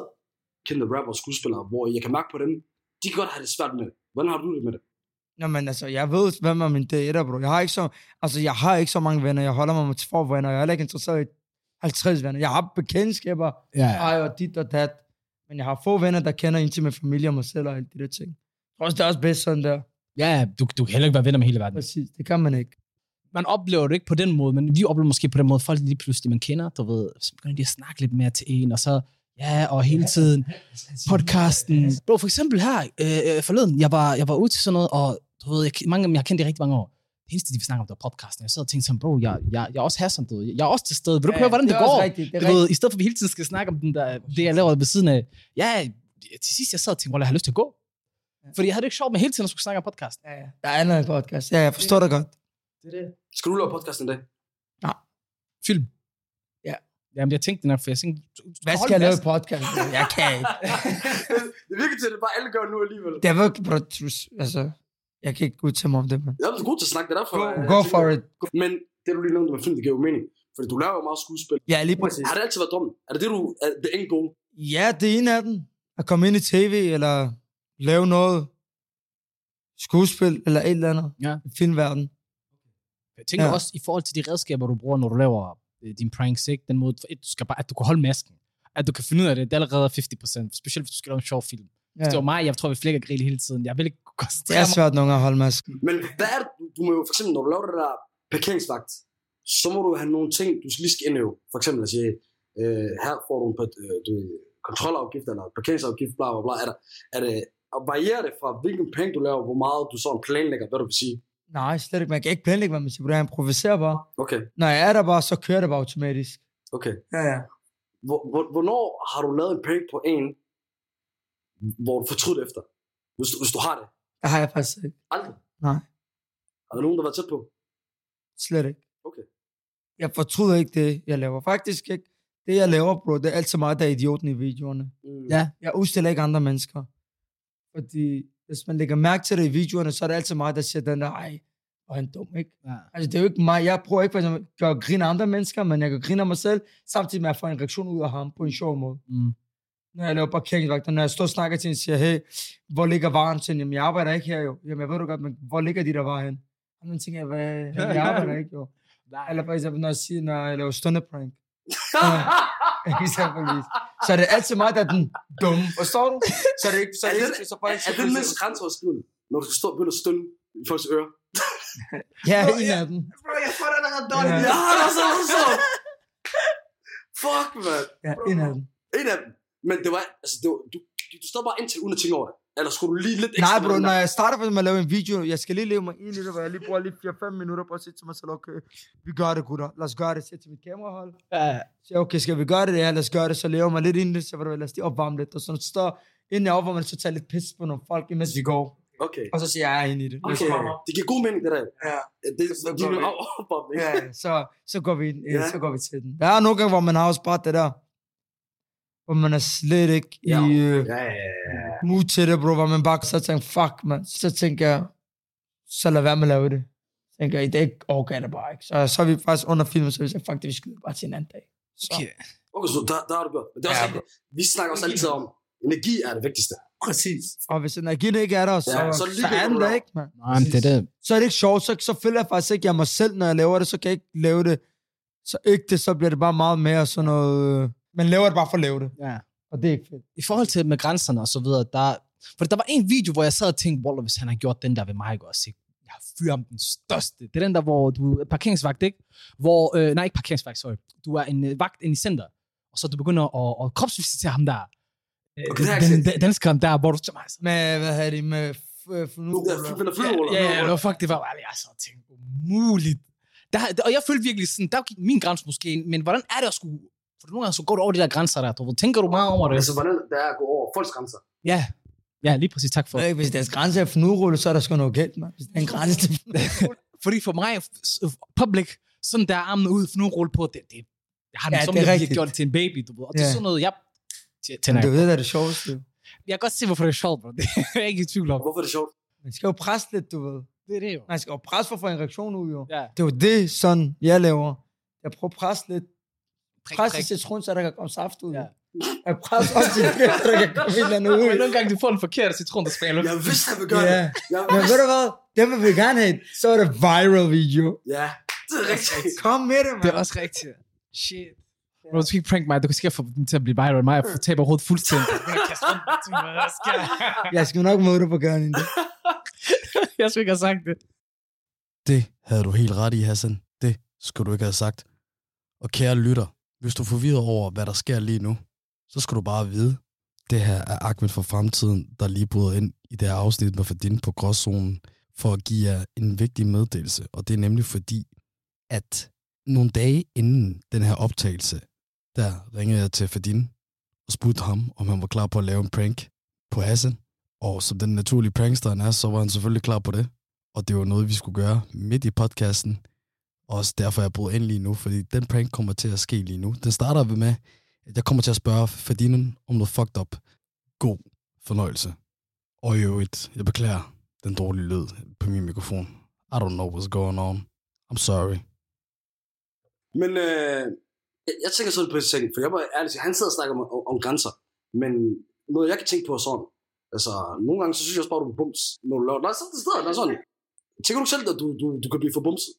B: kendte rapper og skuespillere, hvor jeg kan mærke på dem, de kan godt have det svært med det. Hvordan har du det med det?
C: Nå, men altså, jeg ved, hvem er min dater, bro. Jeg har ikke så, altså, jeg har ikke så mange venner. Jeg holder mig med få venner. Jeg er heller ikke interesseret i 50 venner. Jeg har bekendtskaber,
A: Ja,
C: ej og dit og dat. Men jeg har få venner, der kender ind til min familie og mig selv og alle de der ting. Jeg tror også, det er også bedst sådan der.
A: ja du, du kan heller ikke være venner med hele verden.
C: Præcis, det kan man ikke.
A: Man oplever det ikke på den måde, men vi oplever måske på den måde, folk lige pludselig, man kender, du ved, så begynder de at snakke lidt mere til en, og så, ja, og hele tiden, podcasten. Bro, for eksempel her øh, øh, forleden, jeg var, jeg var ude til sådan noget, og du ved, jeg, mange af dem, jeg har kendt i rigtig mange år. Det eneste, de vil snakke om, det var podcasten. Jeg sad og tænkte sådan, bro, jeg, jeg, jeg er også her som du. ved. Jeg er også til stede. Vil du ikke høre, hvordan det,
C: er
A: går?
C: også Rigtigt, det er
A: Du
C: rigtigt.
A: ved, I stedet for, at vi hele tiden skal snakke om den der, det, jeg laver ved siden af. Ja, til sidst jeg sad og tænkte, "Wallah, jeg har lyst til at gå. Fordi jeg havde det ikke sjovt med hele tiden at skulle snakke om podcast.
C: Ja, ja. der er andet end podcast. Ja, jeg forstår dig godt.
A: Det er det.
B: Skal du lave podcasten i dag?
A: Film.
C: Ja.
A: Jamen, jeg tænkte det nok, for jeg tænkte... du- du
C: Hvad
A: holde
C: skal jeg lave
A: fast.
C: i podcast? bro? Jeg kan ikke.
B: det virker til, at det bare alle gør nu alligevel.
C: Det er virkelig, bro, trus- altså, jeg kan ikke udtale mig om det, man.
B: Ja, du er god til at snakke det er derfor. øh,
C: Go,
B: jeg- jeg
C: go
B: tænker-
C: for it.
B: Men det, du lige nævnte med film, det giver jo mening. Fordi du laver jo meget skuespil.
C: Ja, lige præcis.
B: Har det altid været drømmen? Er det det, du er det end goal?
C: Ja, det er en af dem. At komme ind i tv, eller lave noget skuespil, eller et eller andet.
A: Ja.
C: I filmverden.
A: Jeg tænker
C: Ja.
A: også i forhold til de redskaber, du bruger, når du laver øh, dine pranks, ikke? Den måde, for et, du skal bare, at du kan holde masken. At du kan finde ud af det, det er allerede 50%. Specielt, hvis du skal lave en sjov film. Ja.
C: Ja.
A: Hvis det var mig, jeg tror, vi flækker grill hele tiden. Jeg vil ikke kunne
C: Det
A: koncentrere
C: er
A: mig.
C: svært nogle gange at holde masken.
B: Men hvad er det, du- du må jo for eksempel, når du laver det der parkeringsvagt, så må du have nogle ting, du skal lige skal indøve. For eksempel at sige, øh, her får du en par- øh, du, ved, kontrolafgift eller parkeringsafgift, bla bla bla. Er, der, er det, og varierer det fra, hvilken penge du laver, hvor meget du sådan planlægger, hvad du vil sige?
C: Nej, slet ikke. Man kan ikke planlægge, hvad man siger. Jeg improviserer bare.
B: Okay,
C: Når jeg er der bare, så kører det bare automatisk.
B: okay.
C: Ja, ja.
B: Hvor, hvor, hvornår har du lavet en prank på en, hvor du fortryder efter? Hvis du, hvis du har det.
C: Det har jeg faktisk ikke.
B: Aldrig.
C: Nej.
B: Er der nogen, der har været tæt på?
C: Slet ikke.
B: Okay.
C: Jeg fortryder ikke det, jeg laver. Faktisk ikke. Det, jeg laver, bro, det er altid mig, der er idioten i videoerne.
B: Mm.
A: Ja.
C: Jeg udstiller ikke andre mennesker. Fordi hvis man lægger mærke til det i videoerne, så er det altid mig, der siger den der, ej, hvor er han dum, ikke?
A: Ja.
C: Altså, det er jo ikke mig. Jeg prøver ikke for eksempel, at gøre grin af andre mennesker, men jeg kan grine af mig selv, samtidig med at få en reaktion ud af ham på en sjov måde.
A: Mm.
C: Når jeg laver parkeringsvagter, når jeg står og snakker til hende, siger, hey, hvor ligger varen til Jamen, jeg arbejder ikke her jo. Jamen, jeg ved du godt, men hvor ligger de der varer hen? Og man tænker, jeg, hvad, jeg arbejder ikke jo.
A: Nej.
C: Eller for eksempel, når jeg, siger, når jeg laver stundeprank. Eksempelvis. Så er det altid mig, der er den dumme. Forstår du? Så er det ikke, så er det ikke, så
B: Er,
C: folk
B: er det mest grænseoverskridende, når du står og begynder at stønne i folks ører?
C: Ja, en af dem.
B: Bro, jeg får det allerede
C: dårligt. Ja.
B: Ja, det er så, så. Fuck, man.
C: Ja, en af dem.
B: En af dem. Men det var, altså, det var, du, du stod bare indtil uden at tænke over det. Eller skulle du lige lidt
C: Nej,
B: ekstra?
C: bro,
B: med den
C: når
B: der?
C: jeg starter for med at lave en video, jeg skal lige leve mig ind i det, hvor jeg lige bruger lige 4-5 minutter på at sige til mig selv, okay, vi gør det, gutter. Lad os gøre det. Sæt til mit kamerahold.
A: Ja.
C: Så jeg, okay, skal vi gøre det? Ja, lad os gøre det. Så lever mig lidt ind i det, så ved du hvad, lad os lige opvarme lidt. Og så står inden jeg opvarmer det, så tager jeg lidt pis på nogle folk, imens vi går.
B: Okay.
C: Og så siger jeg, jeg er inde i det.
B: Okay. Det giver god mening, det der.
C: Ja.
B: Det, det,
C: Så
B: det giver
C: går vi.
B: mig op om, ikke?
C: Ja, så, så, går vi ind,
B: Ja.
C: ja. så går vi til den. Der er nogle gange, hvor man har også bare det der, hvor man er slet ikke i
B: Ja.
C: øh,
B: Ja, ja, ja, ja.
C: mood til det, bro, hvor man bare så tænker, fuck, man. Så tænker jeg, så lad være med at lave det. Så tænker jeg, i dag overgår jeg det bare ikke. Så, så er vi faktisk under filmen, så vi siger, fuck det, vi skyder bare til en anden dag. Så,
A: Okay.
B: Okay, så der, der har du gjort. Men det er også
C: Ja,
B: rigtigt. Vi snakker også altid om, energi er det vigtigste.
C: Præcis. Og hvis energien ikke er der, så,
B: Ja,
C: ja,
B: så
C: så,
B: er det
C: så er
B: ligegyldigt,
C: den
B: hvad
C: der
B: du
C: ikke, man.
A: Nej, men det er det.
C: Så er det ikke sjovt, så, så føler jeg faktisk ikke, jeg er mig selv, når jeg laver det, så kan jeg ikke lave det. Så ikke det, så bliver det bare meget mere sådan noget... øh, Man laver det bare for at lave det,
A: Ja.
C: og det er ikke fedt.
A: i forhold til med grænserne og så videre, der, for der var en video, hvor jeg sad og tænkte, Waller, hvis han har gjort den der ved mig, ikke også, ikke? Jeg har fyrer ham den største. Det er den der, hvor du er parkeringsvagt, ikke? Hvor, øh, nej, ikke parkeringsvagt, sorry. Du er en øh, vagt inde i center, og så du begynder at, at kropsvisitere ham der. Øh,
B: Okay, det har jeg
A: den,
B: ikke
A: den, danskeren der, hvor du...
C: Med, hvad hedder det, med f- øh, fnuller.
B: Den er flyruller.
A: Ja, ja, ja, no, fuck, det var bare, jeg så tænkte, umuligt. Der, og jeg følte virkelig sådan, der gik min grænse måske ind, men hvordan er det at skulle... For nogle gange så går du over de der grænser der, du ved. Tænker du meget over det?
B: Altså, hvordan det er at gå over folks grænser.
A: Ja, ja lige præcis, tak for.
C: Ikke, hvis deres grænse er fnurulle, så er der sgu noget galt, man. Hvis det er en grænse til
A: Fordi for mig, s- public, sådan der armene ud, for nu rulle på, det, det, jeg har
C: Ja,
A: ja, som
C: det er
A: jeg
C: rigtigt.
A: gjort det til en baby, du ved. Og det er
C: Ja.
A: sådan noget, jeg tæ-
C: Men
A: tænder.
C: det
A: Jeg.
C: er jo det, der er det sjoveste.
A: jeg kan godt se, hvorfor det er sjovt, bro. Det er jeg ikke i tvivl om.
B: Og hvorfor er det sjovt?
C: Man skal jo presse lidt, du ved.
A: Det er det jo.
C: Man skal jo presse for at få en reaktion ud, jo.
A: Ja.
C: Det er jo det, sådan jeg laver. Jeg prøver at presse lidt.
A: Prik,
C: Presse
A: prik.
C: til citron, så der kan komme saft ud.
A: Ja.
C: Ja. Jeg presser også til citron, så der kan komme et eller andet ud.
A: Men nogle gange, du får en forkert citron, der spiller.
B: Jeg vidste, han ville gøre
C: Ja.
B: det. Jeg
C: Men ved
B: vidste.
C: du hvad? Den vil vi gerne have. Så er det viral video.
B: Ja, det er rigtigt.
C: Kom med det,
A: Det
C: mand.
A: er også rigtigt. Shit. Bro, du skal ikke prank mig. Du kan sikkert få den til at blive viral. Mig, jeg taber hovedet fuldstændig. Jeg begynder at kaste rundt med ting, hvad der sker.
C: Jeg skal nok møde dig på gaden. en dag.
A: Jeg skulle ikke have sagt det.
D: Det havde du helt ret i, Hassan. Det skulle du ikke have sagt. Og kære lytter, hvis du er forvirret over, hvad der sker lige nu, så skal du bare vide, det her er Ahmed fra Fremtiden, der lige bryder ind i det her afsnit med Ferdinand på Gråzonen, for at give jer en vigtig meddelelse. Og det er nemlig fordi, at nogle dage inden den her optagelse, der ringede jeg til Ferdinand og spurgte ham, om han var klar på at lave en prank på Hassan. Og som den naturlige prankster han er, så var han selvfølgelig klar på det og det var noget, vi skulle gøre midt i podcasten. Også derfor er jeg brudt ind lige nu, fordi den prank kommer til at ske lige nu. Den starter ved med, at jeg kommer til at spørge Ferdinand om noget fucked up. God fornøjelse. Og i øvrigt, jeg beklager den dårlige lyd på min mikrofon. I don't know what's going on. I'm sorry.
B: Men øh, jeg, jeg tænker sådan på det ting, for jeg var ærlig, sige, han sidder og snakker om, om, om grænser, men noget jeg kan tænke på er sådan, altså nogle gange så synes jeg også bare, du er bums, når du laver, nej, sådan det steder, der er sådan, tænker du selv, at du, du, du kan blive for bumset?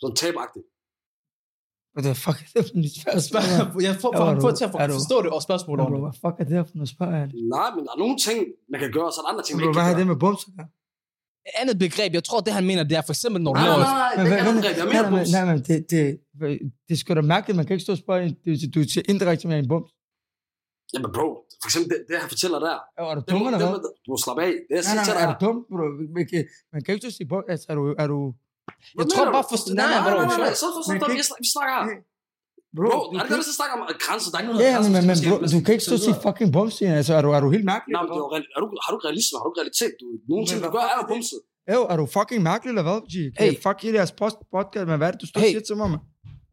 B: Sådan tabagtigt.
C: What the fuck er det for et spørgsmål? mand?
A: Jeg får,
C: Ja,
A: får,
C: du-
A: får til at
C: er du-
A: forstå det og spørgsmålet
C: Bro,
A: om det.
C: Hvad fuck er det her for noget spørgsmål?
B: Nej, men der er nogle ting, man kan gøre, og så er der andre ting, man
C: Bro,
B: ikke
C: Hvad
B: kan
C: har
B: gøre.
C: det med bums at gøre?
A: Et andet begreb, jeg tror, det han mener, det er for eksempel, når du
B: Nej, nej,
A: laver...
B: nej, nej, det er ikke andet greb, jeg
C: nej,
B: mener
C: nej,
B: bums.
C: nej, men det, det, det er sgu da mærkeligt, man kan ikke stå og spørge, en- du, du siger indirekte med en bums.
B: Jamen bro, for eksempel det, det han fortæller der,
C: Er du
B: det,
C: dum
B: må-
C: eller
B: det,
C: hvad?
B: må- du må slappe af, det er jeg
C: Nej,
B: siger til
C: nej,
B: dig.
C: er du dum? bro? Man kan, man kan ikke stå og sige bums, altså er du, er du,
B: Hvad
A: Jeg tror
B: mener
A: bare
B: du?
A: for... Nej,
B: Nej, nej,
A: bro,
B: nej, nej, nej,
A: sure.
B: så forstår
C: Man
B: du,
C: kan
B: vi sn- vi snakker her.
C: bro,
B: Bro,
C: du
B: er det
C: kan,
B: godt, at vi snakker om grænser? Der er ikke noget Altså,
C: ja,
B: grænser,
C: men,
B: som
C: men
B: skal-
C: bro, du kan ikke
B: skal-
C: stå og sige fucking bums, siger jeg. altså er du, er du helt mærkelig?
B: Nej, men
C: eller
B: det er,
C: hvad?
B: jo real- er du, har du ikke realisme? Har du ikke realitet? Du, nogle
C: Men
B: ting, du
C: hvad
B: gør,
C: fuck
B: er
C: er
B: jo
C: det?
B: bumset.
C: Jo, er du fucking mærkelig eller hvad, G? Kan
A: Hey.
C: jeg fuck hele jeres post- podcast, men hvad er det, du står og
A: Hey.
C: siger til mig, mand?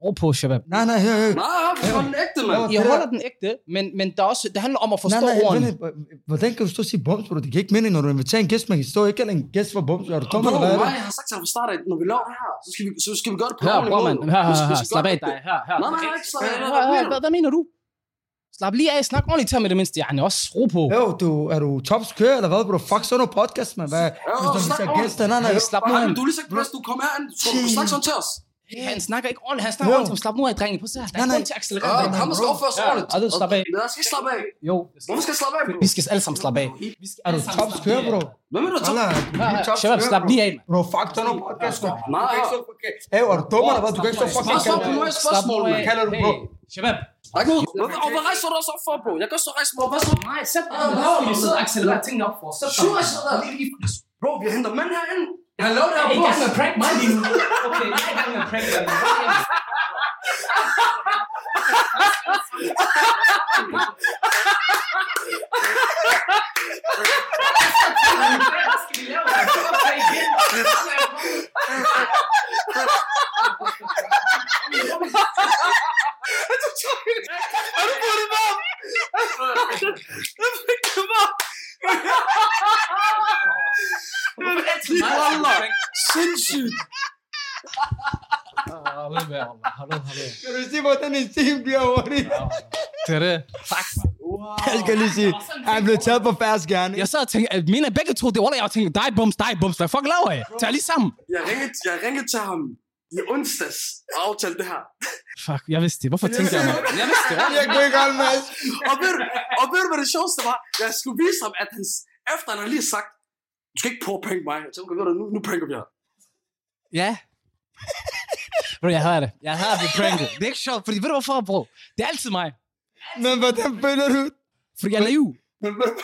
A: Ro på, Shabab.
C: Nej, nej, hør, hør.
B: Nej, det var den ægte, mand.
C: Ja.
A: Jeg
C: det
A: holder den ægte, men, men der er også, det handler om at forstå
C: nej, nej,
A: ordene.
C: vent lidt. Hvordan kan du stå og sige bums, bro? Det giver ikke mening, når du inviterer en gæst, man kan stå ikke kalde en gæst for bums. Er du dum
B: Bro,
C: eller hvad? er det?
B: nej, jeg har sagt til ham fra start af, når vi laver det her, så skal vi, så skal vi gøre det på
A: Her,
B: ordentlig
A: bror,
B: måde.
A: mand. Her, her,
B: Vi skal- vi
A: her.
B: skal
A: Slap
B: gøre
A: af
B: det
A: dig. Her, her.
B: Nej, nej, nej, ikke slap af.
A: Hør,
B: Hvad
A: hør,
B: mener
A: Hvad,
B: du?
A: hvad mener du? Slap lige af. Snak ordentligt til mig i det mindste. Han er også ro på.
C: Jo, du, er du topskør eller hvad, bro? Fuck, så er noget podcast, man. Hvad? Hvis du
B: snak
C: inviterer
B: ordentligt.
C: gæster, nej, nej.
A: Hey, slap nu
B: Nej,
A: af.
B: men du har lige sagt, hvis du kommer herind, så du kan snakke sådan til os.
A: Han snakker ikke ordentligt. Han snakker
C: Jo.
A: ordentligt. som, Slap nu af, drenge. Prøv at se her. Der er
C: Nej, nej.
A: grund til at
B: Ja,
A: accelerere.
B: han
A: drenge.
B: må skal opføre sig
A: Ja,
B: ordentligt.
A: og du slapper af.
B: Og- Jeg skal ikke slappe af.
A: Jo.
B: Hvorfor skal jeg slappe af, bro?
A: Vi skal alle sammen slappe af.
C: Er du topskør, bro?
B: Hvad mener du?
C: Holla,
B: Tom?
C: du
A: Her,
C: er
A: her.
C: topskør,
A: Shabab, slap
C: bro.
A: lige af, mand.
C: Bro, fuck, så er noget podcast, man. Du
B: Nej,
C: kan ikke stå fucking... Hey, er du dum eller hvad? Du kan ikke stå fucking...
B: Bare svar på nogle spørgsmål,
A: Slap nu
B: mand.
A: af.
C: Kalder du bro?
A: Hey, Shabab.
B: Der er ikke noget. Hvad- Og hvad rejser du også op for, bro? Jeg kan også rejse mig op. Hvad så?
A: Nej, sæt dig.
B: ned. Lad os lige sidde og
A: accelerere tingene op for. Sæt
B: Sure, jeg sidder der. Bro, vi henter mænd herinde. Han laver det her,
A: Ikke
B: bro.
A: gang med prank mig lige nu. Okay, ikke gang med prank mig lige nu.
B: Wallah, sindssygt.
C: Kan du se, hvordan en team bliver hurtigt?
A: Det er det. Tak, man.
C: Jeg skal lige sige, han blev taget på færds gerne.
A: Jeg sad og tænkte, at mine begge to, det var jeg tænkte, dig bums, dig bums, hvad fuck laver jeg? Tag lige sammen.
B: Jeg ringede, jeg ringede til ham i onsdags og aftalte det her.
A: Fuck, jeg vidste det. Hvorfor tænkte jeg mig? Jeg vidste det.
C: Jeg kunne ikke holde med.
B: Og ved, du, og ved du, hvad det sjoveste var? Jeg skulle vise ham, at hans, efter han havde lige sagt, du skal ikke prøve at prank mig. Jeg tænkte, okay, ved du, nu, nu pranker vi dig.
A: Ja. Bro, jeg hader det. Jeg hader at blive pranket. Det er ikke sjovt, fordi ved du hvorfor, bro? Det er altid mig.
C: Men hvordan føler du?
A: Fordi jeg er naiv.
C: Men hvordan-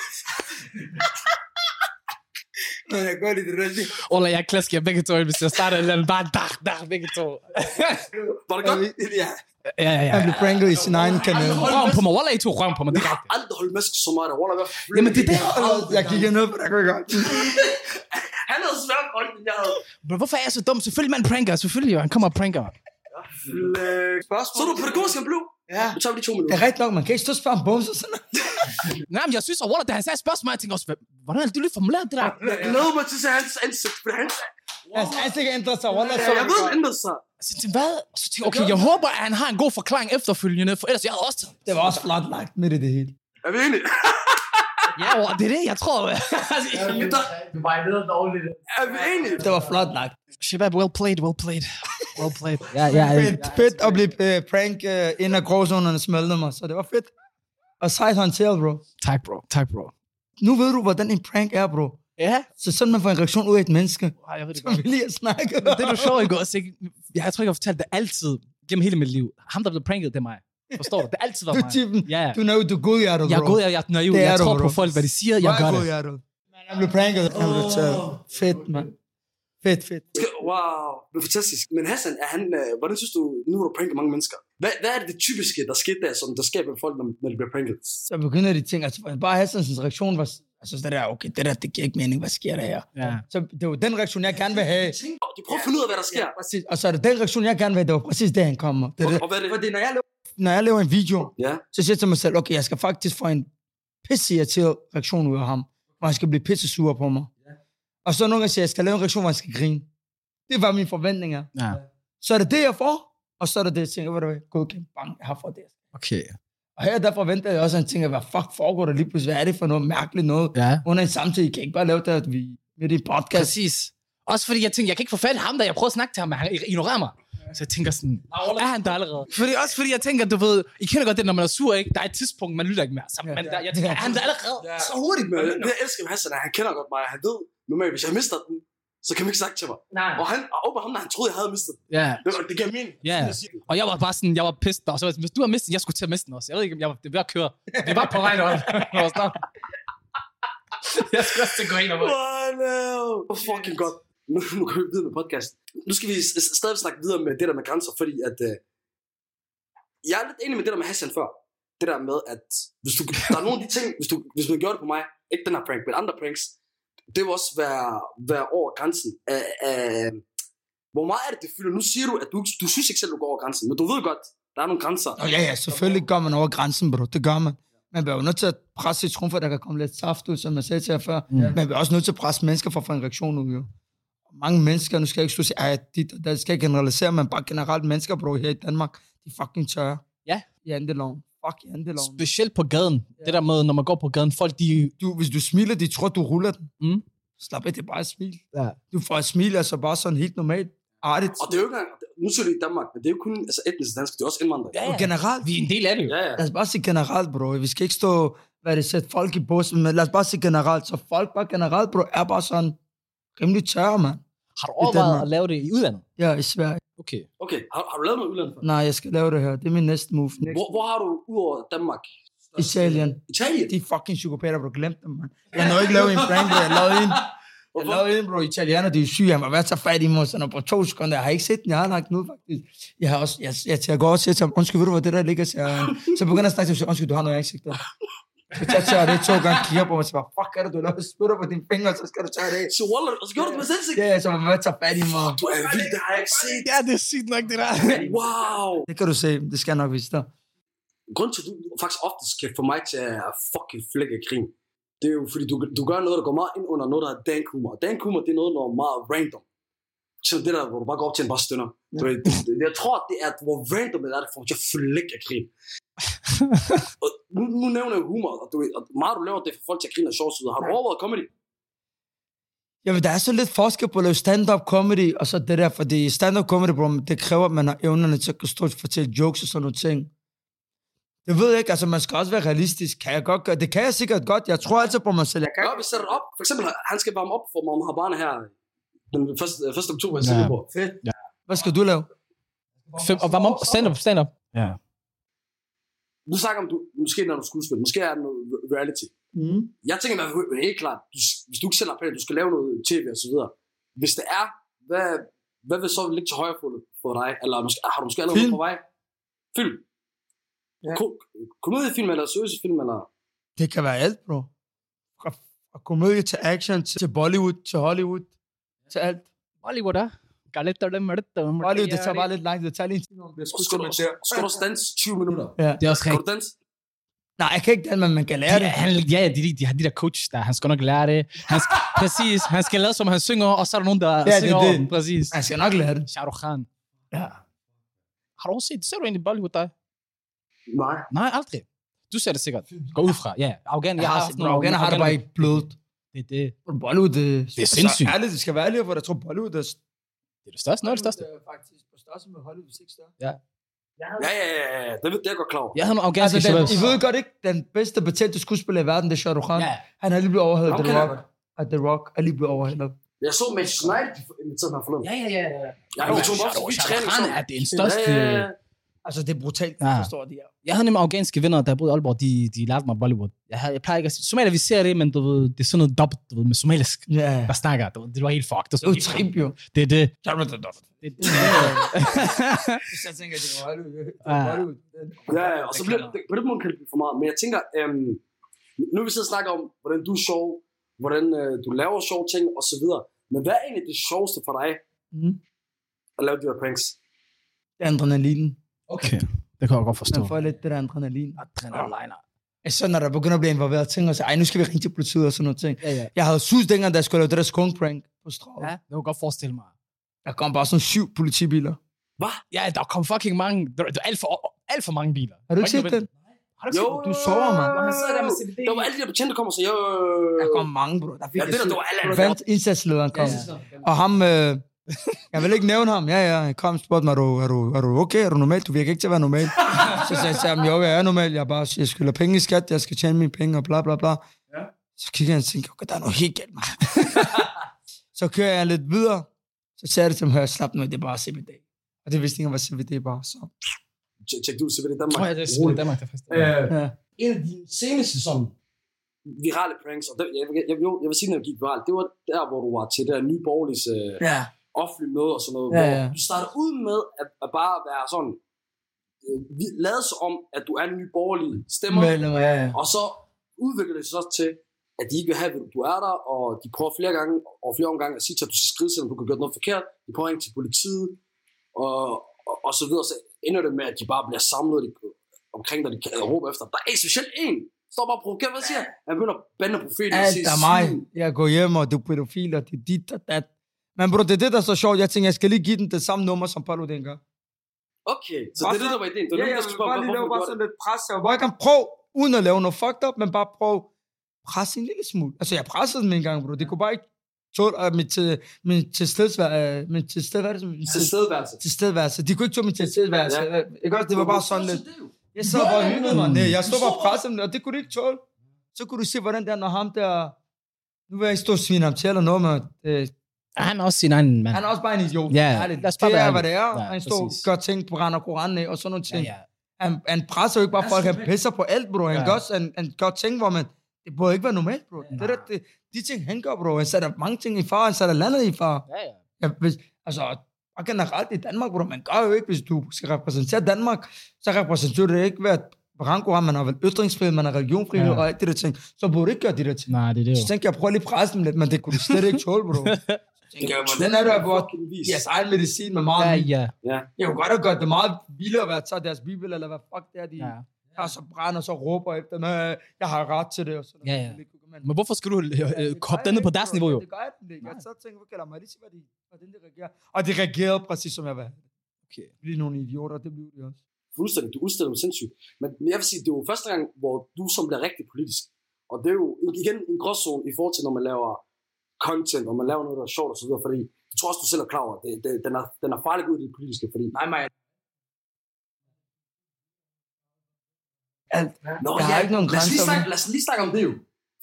C: Men jeg går lidt rundt i
A: Eller jeg klasker begge to, hvis jeg starter et eller andet, bare dak, dak, begge to.
B: Var det godt?
C: Ja.
A: ja, ja, ja.
C: Han blev pranket i sin egen kanal.
A: Røven på mig, Walla, I to røven på mig.
B: Jeg har
A: direkte.
B: aldrig holdt mask så meget. Wallah, hvad fanden?
A: Jamen, det er det.
C: Jeg gik ned på dig, kunne jeg godt.
B: Han havde svært holdt, end jeg havde.
A: Bro, hvorfor er jeg så dum? Selvfølgelig man pranker. Selvfølgelig, han kommer og pranker mig.
B: Flæk. Så er du pædagogisk, han blev.
C: Ja.
B: Nu tager vi de to
C: Det
B: minutter.
C: er rigtigt nok, man kan ikke stå og spørge om bums og sådan noget.
A: Nej, men jeg synes, at Walla, da han sagde spørgsmål, jeg tænkte også, "Hvad- hvordan er det, du lige formuleret det der?
B: Jeg glæder mig til at se hans ansigt. For hans,
C: Hans ansigt ændrer sig. Wallah,
B: Ja,
C: så
B: jeg ved, han ændrede sig.
A: Så tænkte, jeg, hvad? Og så tænkte, jeg, okay, jeg håber, at han har en god forklaring efterfølgende, for ellers jeg havde også taget.
C: Det var også flot lagt midt i det hele.
B: Er vi enige?
A: Ja, Walla, det er det, jeg tror. Altså,
E: Du var ved at dårligt.
B: Er vi enige?
C: Det var flot lagt.
A: Shabab, well played, well played. Well played. Ja, ja, ja.
C: Fedt, fedt at blive øh, prank øh, ind af gråzonerne smelte mig, så det var fedt. Og sejt håndteret, bro.
A: Tak, bro. Tak, bro.
C: Nu ved du, hvordan en prank er, bro.
A: Ja.
C: Så sådan man får en reaktion ud af et menneske.
A: Ej, jeg ved det
C: Som vi lige har snakket om.
A: det er jo sjovt, ikke også? Ikke? Jeg, jeg tror ikke, jeg har fortalt det altid gennem hele mit liv. Ham, der blev pranket, det er mig. Forstår du? Det har altid
C: Du
A: været
C: er
A: mig.
C: typen.
A: Ja, ja.
C: Du er nød- du er godhjertet, bro.
A: Jeg er god, jeg, jeg er naiv.
C: Det
A: Jeg
C: er du,
A: tror på
C: bro.
A: folk, hvad de siger, jeg gør det.
C: godhjertet. Man, jeg blev pranket. Jeg blev taget. Fedt, mand. Fedt, fedt.
B: Wow, det er fantastisk. Men Hassan, er han, øh, hvordan synes du, nu har du pranket mange mennesker? Hvad, hvad er det, det typiske, der skete der, som der sker med folk, når, når de bliver pranket?
C: Så begynder de ting, altså bare Hassans reaktion var, altså det der, okay, det der, det giver ikke mening, hvad sker der her?
A: Ja.
C: Så det var den reaktion, jeg gerne vil have.
B: Og de prøver at finde ud af, hvad der sker.
C: Præcis. Og så er det den reaktion, jeg gerne vil have, det var præcis det, han kommer. Det er det.
B: Og hvad er det?
C: Fordi når jeg, laver, når jeg laver en video,
B: Ja.
C: så siger jeg til mig selv, okay, jeg skal faktisk få en pisseirriteret reaktion ud af ham, hvor han skal blive pissesur på mig. Og så nogle gange siger jeg, jeg skal lave en reaktion, hvor han skal grine. Det var mine forventninger.
A: ja.
C: Så er det det, jeg får, og så er det det, jeg tænker, ved du hvad, godkendt, bang, jeg har fået det.
A: Okay.
C: Og her der forventer jeg også, at han tænker, hvad fuck foregår der lige pludselig, hvad er det for noget mærkeligt noget?
A: Ja.
C: Under en samtid, I kan ikke bare lave det, at vi midt i en podcast.
A: Præcis. Også fordi jeg tænkte, jeg kan ikke få fat i ham, da jeg prøver at snakke til ham, men han ignorerer mig. Så jeg tænker sådan, er han der allerede? Fordi også fordi jeg tænker, du ved, I kender godt det, når man er sur, ikke? Der er et tidspunkt, man lytter ikke mere. Så man, der, jeg tænker, er han der allerede?
B: Så hurtigt, man. Det, jeg elsker med Hassan, er, at han kender godt mig. Han ved, normalt, hvis jeg mister den, så kan man ikke snakke til mig.
E: Nej.
B: Og han og over ham, når han troede, jeg havde mistet den.
A: Ja.
B: Det, det gav mening.
A: Ja. Og jeg var bare sådan, jeg var pissed, og så var jeg sådan, hvis du har mistet den, jeg skulle til at miste den også. Jeg ved ikke, om jeg var, det var ved at køre. Det var på vej derop. Jeg var sådan, jeg skulle også til at gå ind og
B: Wow, no. Fucking godt. Nu, nu går vi videre med podcasten. Nu skal vi s- s- stadig snakke videre med det der med grænser, fordi at... Øh, jeg er lidt enig med det der med Hassan før. Det der med, at hvis du, der er nogle af de ting, hvis, du, hvis man gjorde det på mig, ikke den her prank, men andre pranks, det vil også være, være over grænsen. Af, af, hvor meget er det, det fylder? Nu siger du, at du, ikke- du synes ikke selv, du går over grænsen, men du ved godt, der er nogle grænser.
C: Og ja, ja, selvfølgelig går man over grænsen, bro. Det gør man. Man bliver jo nødt til at presse sit rum, for der kan komme lidt saft ud, som jeg sagde til jer før.
A: Ja.
C: Man bliver også nødt til at presse mennesker for at få en reaktion ud, jo. Mange mennesker, nu skal jeg ikke stå og sige, "Ej, dit og dat," skal jeg generalisere, men bare generelt mennesker, bro, her i Danmark, de er fucking tørre.
A: Ja.
C: I andeloven. Fuck i andeloven.
A: Specielt på gaden. Ja. Det der med, når man går på gaden, folk de...
C: Du, hvis du smiler, de tror, du ruller den.
A: Mm.
C: Slap af, det er bare et smil.
A: Ja.
C: Du får et smil, altså bare sådan helt normalt. Artigt.
B: Og det er jo ikke engang, nu siger du i Danmark, men det er jo kun altså etnisk dansk, det er også indvandrere.
A: Ja,
C: Og generelt,
A: Vi er en del af det jo.
B: Ja, ja.
C: Lad os bare sige generelt, bro. Vi skal ikke stå, hvad det sætter folk i bussen, men lad os bare sige generelt. Så folk bare generelt, bro, er bare sådan rimelig tørre, mand.
A: Har du
C: Danmark.
A: overvejet at lave det i udlandet?
C: Ja, i Sverige.
A: Okay.
B: Okay, har, har du lavet noget udlandet? før?
C: Nej, jeg skal lave det her. Det er min næste move. Next.
B: Hvor, hvor har du udover Danmark?
C: Italien.
B: Italien?
C: De er fucking psykopater, bro. Glem dem, mand. Jeg nåede ikke lave en prank, bro. Jeg lavede en. Jeg
B: Hvorfor?
C: lavede en, bro. Italiener, de er syge. Han var været så fat i mig, sådan og på to sekunder. Jeg har ikke set den. Jeg har lagt den ud, faktisk. Jeg, har også, jeg, jeg, jeg går også til ham. Undskyld, ved du, hvor det der ligger? Så, jeg, så begynder jeg at snakke til ham. Undskyld, du har noget i ansigtet. Så jeg tager det to gange, kigger på mig og siger, fuck er det, du laver spytter på dine fingre, så skal du tage det af.
B: Så Waller, og så gjorde du det med selvsigt.
C: Ja, ja, så man tager fat i mig.
B: Du er vild, det har jeg ikke set.
A: Ja, det er sygt nok, det der.
B: Wow.
C: Det kan du se, det skal jeg nok vise dig.
B: Grunden til, at du faktisk oftest kan få mig til at fucking flække af krigen, det er jo, fordi du, du gør noget, der går meget ind under noget, der er dank humor. Og Dank humor, det er noget, der er meget random. Så det der, hvor du bare går op til en bare stønner. Ja. Det, det, jeg tror, det er, hvor random det er, der får mig til at flække af krigen. og nu, nu nævner jeg humor, og, du, ved, og meget du laver det for folk til at grine og sjovt ud. Har du overvejet comedy?
C: Jamen, der er så lidt forskel på at lave stand-up comedy, og så det der, fordi stand-up comedy, bro, det kræver, at man har evnerne til at kunne stå og fortælle jokes og sådan nogle ting. Det ved jeg ikke, altså man skal også være realistisk. Kan jeg godt gøre? Det kan jeg sikkert godt. Jeg tror altid på mig selv. Jeg kan
B: Gør, vi sætter op. For eksempel, han skal varme op for Mohamed Habane her øh, den 1. 1. oktober i
A: Ja.
B: Silkeborg.
C: Hvad skal du lave?
A: Fem, og varm op. Stand up, stand up. Ja.
B: Nu snakker om, du, måske når du er skuespiller, måske er det noget re- reality.
C: Mm.
B: Jeg tænker i hvert fald helt klart, du, hvis du ikke selv har planer, du skal lave noget tv og så videre. Hvis det er, hvad, hvad vil så ligge til højre for, for dig? Eller måske, har du måske allerede
C: Film.
B: noget på vej? Film. Ja.
C: Ja.
B: Ko- komediefilm eller seriøse film eller...
C: Det kan være alt, bro. Fra, fra komedie til action, til, til Bollywood, til Hollywood, til alt.
A: Bollywood, da. Galetterne, mørte,
C: Bollywood, det tager bare lidt lang tid. Det tager lige en time, om det er
B: Så skal, du,
C: skuespil.
B: skal du danse 20 minutter?
A: Det er også
B: Skal
A: rigtigt.
B: du danse?
C: Nej, jeg kan ikke den, men man kan lære
A: Ja,
C: det.
A: han, ja, ja, de, de, de, har de der coaches der, han skal nok lære det. Han skal, præcis, han skal lade som han synger, og så er der nogen, der
C: det
A: ja,
C: er
A: synger det, det.
C: det.
A: over dem, præcis.
C: Man skal nok lære det.
A: Shah Rukh Khan.
C: Ja.
A: Har du også set, ser du egentlig Bollywood dig?
B: Nej.
A: Nej, aldrig. Du ser det sikkert. Gå ud fra, ja. Afghan,
C: Jeg har
A: haft
C: set,
A: nogle
C: bro, Ghana har det bare ikke blødt.
A: Det er det.
C: Bollywood, det,
A: Det er sindssygt.
C: Altså, ærligt, det skal være ærligt, for jeg tror, Bollywood er
A: Det er det største, noget af det største.
C: er faktisk på størrelse med Hollywood, hvis ikke større.
B: Ja, ja, ja, ja, ja. Det, ved- det er jeg godt klar over.
A: Jeg havde nogle afghanske
C: Altså, den,
A: shababs.
C: I ved godt ikke, den bedste betalte skuespiller i verden, det er Shah Rukh Khan.
A: Ja,
C: Han er lige blevet overhældet af
B: Ham
C: The
B: kender jeg
C: Rock. At The Rock er lige blevet overhældet.
B: Jeg så Manchester United inviteret mig forleden.
A: ja, ja. ja, ja.
B: Jeg
A: Jo,
B: tog mig
A: Shah
B: op forbi
A: Rukh- Shah Rukh
B: træning.
A: Khan er den største...
B: Ja, ja, ja.
C: Altså, det er brutalt,
A: Ja.
C: ja. forstår de her.
A: Jeg havde nemlig afghanske venner, der boede i Aalborg, de, de lærte mig Bollywood. Jeg, havde, jeg plejer ikke at sige... Somalier, vi ser det, men du ved, det er sådan noget dobbelt, du ved, med somalisk.
C: Ja,
A: Der snakker, du ved, det var helt fucked. Det
C: det er jo trip, jo.
A: Det er det.
C: Så er det dumt.
A: det, er det.
C: Så jeg tænker, det er Hollywood.
A: Ja.
B: Ja, ja, og så bliver det, på den måde kan det blive for meget. Men jeg tænker, øhm, nu har vi siddet og snakker om, hvordan du er sjov, hvordan øh, du laver sjove ting og så videre. Men hvad er egentlig det sjoveste for dig
C: Mhm.
B: at lave de her pranks?
C: Det er adrenalinen.
A: Okay, det kan jeg godt forstå.
C: Man får lidt det der adrenalin.
A: Adrenaliner.
C: Så når der begynder at blive involveret ting, og så, ej, nu skal vi ringe til politiet og sådan noget ting.
A: Ja, ja.
C: Jeg havde sus dengang, da jeg skulle lave det der skunk prank på strået.
A: Ja, det kan jeg godt forestille mig.
C: Der kom bare sådan syv politibiler.
A: Ja, der kom fucking mange... Der, der er alt for, alt for mange biler.
C: Har du ikke set den?
A: Har du ikke set den?
C: du sover, mand.
A: Han sidder der med CBD.
B: Der var alle de der betjente, der kommer og siger, "Øh, jo,
C: Der kom mange, bro. Der fik
B: ja, det der,
C: jeg
B: det var alle.
C: syv. Vandt indsatslederen kom. Og ham, øh, jeg vil ikke nævne ham. Ja, ja, han kom og spurgte mig, er du, er, du, er du okay? Er du normal? Du virker ikke til at være normal. så sagde jeg til ham, jo, jeg er normal. Jeg, er bare, jeg skylder penge i skat, jeg skal tjene mine penge og bla bla bla. Ja. Så kigger han og tænker, okay, der er noget helt galt, man. så kører jeg lidt videre. Så sagde jeg det til ham, hør, slap nu, det er bare CBD. Og det vidste ikke, hvad CBD var. Så.
B: Tjek tjek det ud, så ved det i Danmark.
A: Åh, ja, det er sådan i Danmark, der faktisk.
B: Øh,
C: Ja.
B: En af de seneste sådan virale pranks, og det, jeg, jeg, jeg, jeg, vil sige, når det gik viralt, det var der, hvor du var til det der nye borgerliges øh,
C: ja.
B: offentlig møde og sådan noget.
C: Ja,
B: Ja, ja.
C: ja.
B: Du starter ud med at, at bare være sådan, øh, vi- lad som om, at du er en ny borgerlig stemmer, Men.
C: Medlem, ja, ja.
B: og så udvikler det sig så til, at de ikke vil have, at du er der, og de prøver flere gange og flere omgange at sige til, at du skal skride, selvom du kan gøre noget forkert. De prøver at ringe til politiet, og, og, og så videre. Så ender det med, at de bare bliver samlet de, omkring dig, de kan råbe efter. dig. Der er ikke specielt en, står bare og provokerer, hvad siger han? Han begynder at bande profeten og
C: Alt
B: sige,
C: er mig.
B: "Svin."
C: Jeg går hjem, og du er pædofil, og det er dit og dat. Men bro, det er det, der er så sjovt. Jeg tænker, jeg skal lige give den det samme nummer, som Paolo dengang.
B: Okay, så det er det, der var ideen. Det var
C: Ja,
B: det,
C: jeg
B: der
C: vil
B: spørger,
C: bare lige
B: hvorfor
C: lave
B: du gjorde
C: bare
B: det.
C: sådan lidt pres. Jeg vil bare gerne prøve, uden at lave noget fucked up, men bare prøve presse en lille smule. Altså, jeg pressede dem en gang, bro. Det kunne bare ikke tåle uh, min, til, min tilstedeværelse. Uh, min tilstedeværelse. Min til,
B: Tilstedeværelse.
C: tilstedeværelse. De kunne ikke tåle min tilstedeværelse.
B: Ja.
C: Ja. Ikke også? Det var bare sådan lidt. Jeg sad
A: Ja,
C: bare og
A: ja, ja.
C: hyggede mig. Nej, jeg stod bare og pressede dem, og det kunne de ikke tåle. Så kunne du se, hvordan det er, når ham der... Nu vil jeg ikke stå og svine ham til eller noget, men øh,
A: Han er også sin egen mand.
C: han er også bare en idiot.
A: Ja,
C: Ærligt.
A: lad os bare
C: det
A: være
C: er, hvad det er.
A: ærlige. Ja,
C: han står og
A: præcis.
C: gør ting, brænder Koranen af og sådan nogle
A: Ja,
C: ting.
A: ja.
C: Han, han presser jo ikke bare folk, han pisser på alt, bro. Han,
A: Ja.
C: ja. gør, han, han gør ting, hvor man... Det burde ikke være normalt, bro. Det der, det, de ting, han gør, bro. Han sætter mange ting i far, han sætter landet i far.
A: Ja, ja.
C: Ja, hvis, altså, bare generelt i Danmark, bro. Man gør jo ikke, hvis du skal repræsentere Danmark, så repræsenterer du det ikke ved at Branko har, man har vel ytringsfrihed, man har religionfrihed
A: Ja.
C: ja. og alt det der ting. Så burde du ikke gøre de der ting.
A: Nej, det er det
C: Så
A: jo.
C: tænkte jeg, prøv lige at presse dem lidt, men det kunne du slet ikke tåle, bro. Den er der, hvor jeres egen medicin med meget...
A: Ja,
C: Ja,
A: ja.
C: Jeg kunne godt have gjort det meget vildere, hvad jeg tager deres bibel, eller hvad fuck det er, de...
A: ja.
C: og så brænder og så råber efter mig, jeg har ret til det. Og sådan
A: Ja,
C: noget.
A: ja.
C: Men,
A: Men hvorfor skal du øh, øh, hoppe den ned på deres niveau, jo?
C: Det gør jeg den ikke. Jeg sad og tænkte, okay, lad mig lige se, hvad de, hvordan de reagerer. Og de reagerede præcis, som jeg var.
A: Okay.
C: Det blev nogle idioter, det blev de også.
B: Fuldstændig, du udstiller dem sindssygt. Men, men jeg vil sige, det er jo første gang, hvor du som bliver rigtig politisk. Og det er jo igen en gråzone i forhold til, når man laver content, og man laver noget, der er sjovt og så videre, fordi jeg tror også, du selv er klar over, at det, det, den, er, den er farlig ud i det politiske, fordi
C: Nej, nej. alt.
B: Nå,
C: Der er ikke nogen
B: lad os, lige
C: grænser,
B: snakke,
C: men-
B: lad os lige snakke om det jo.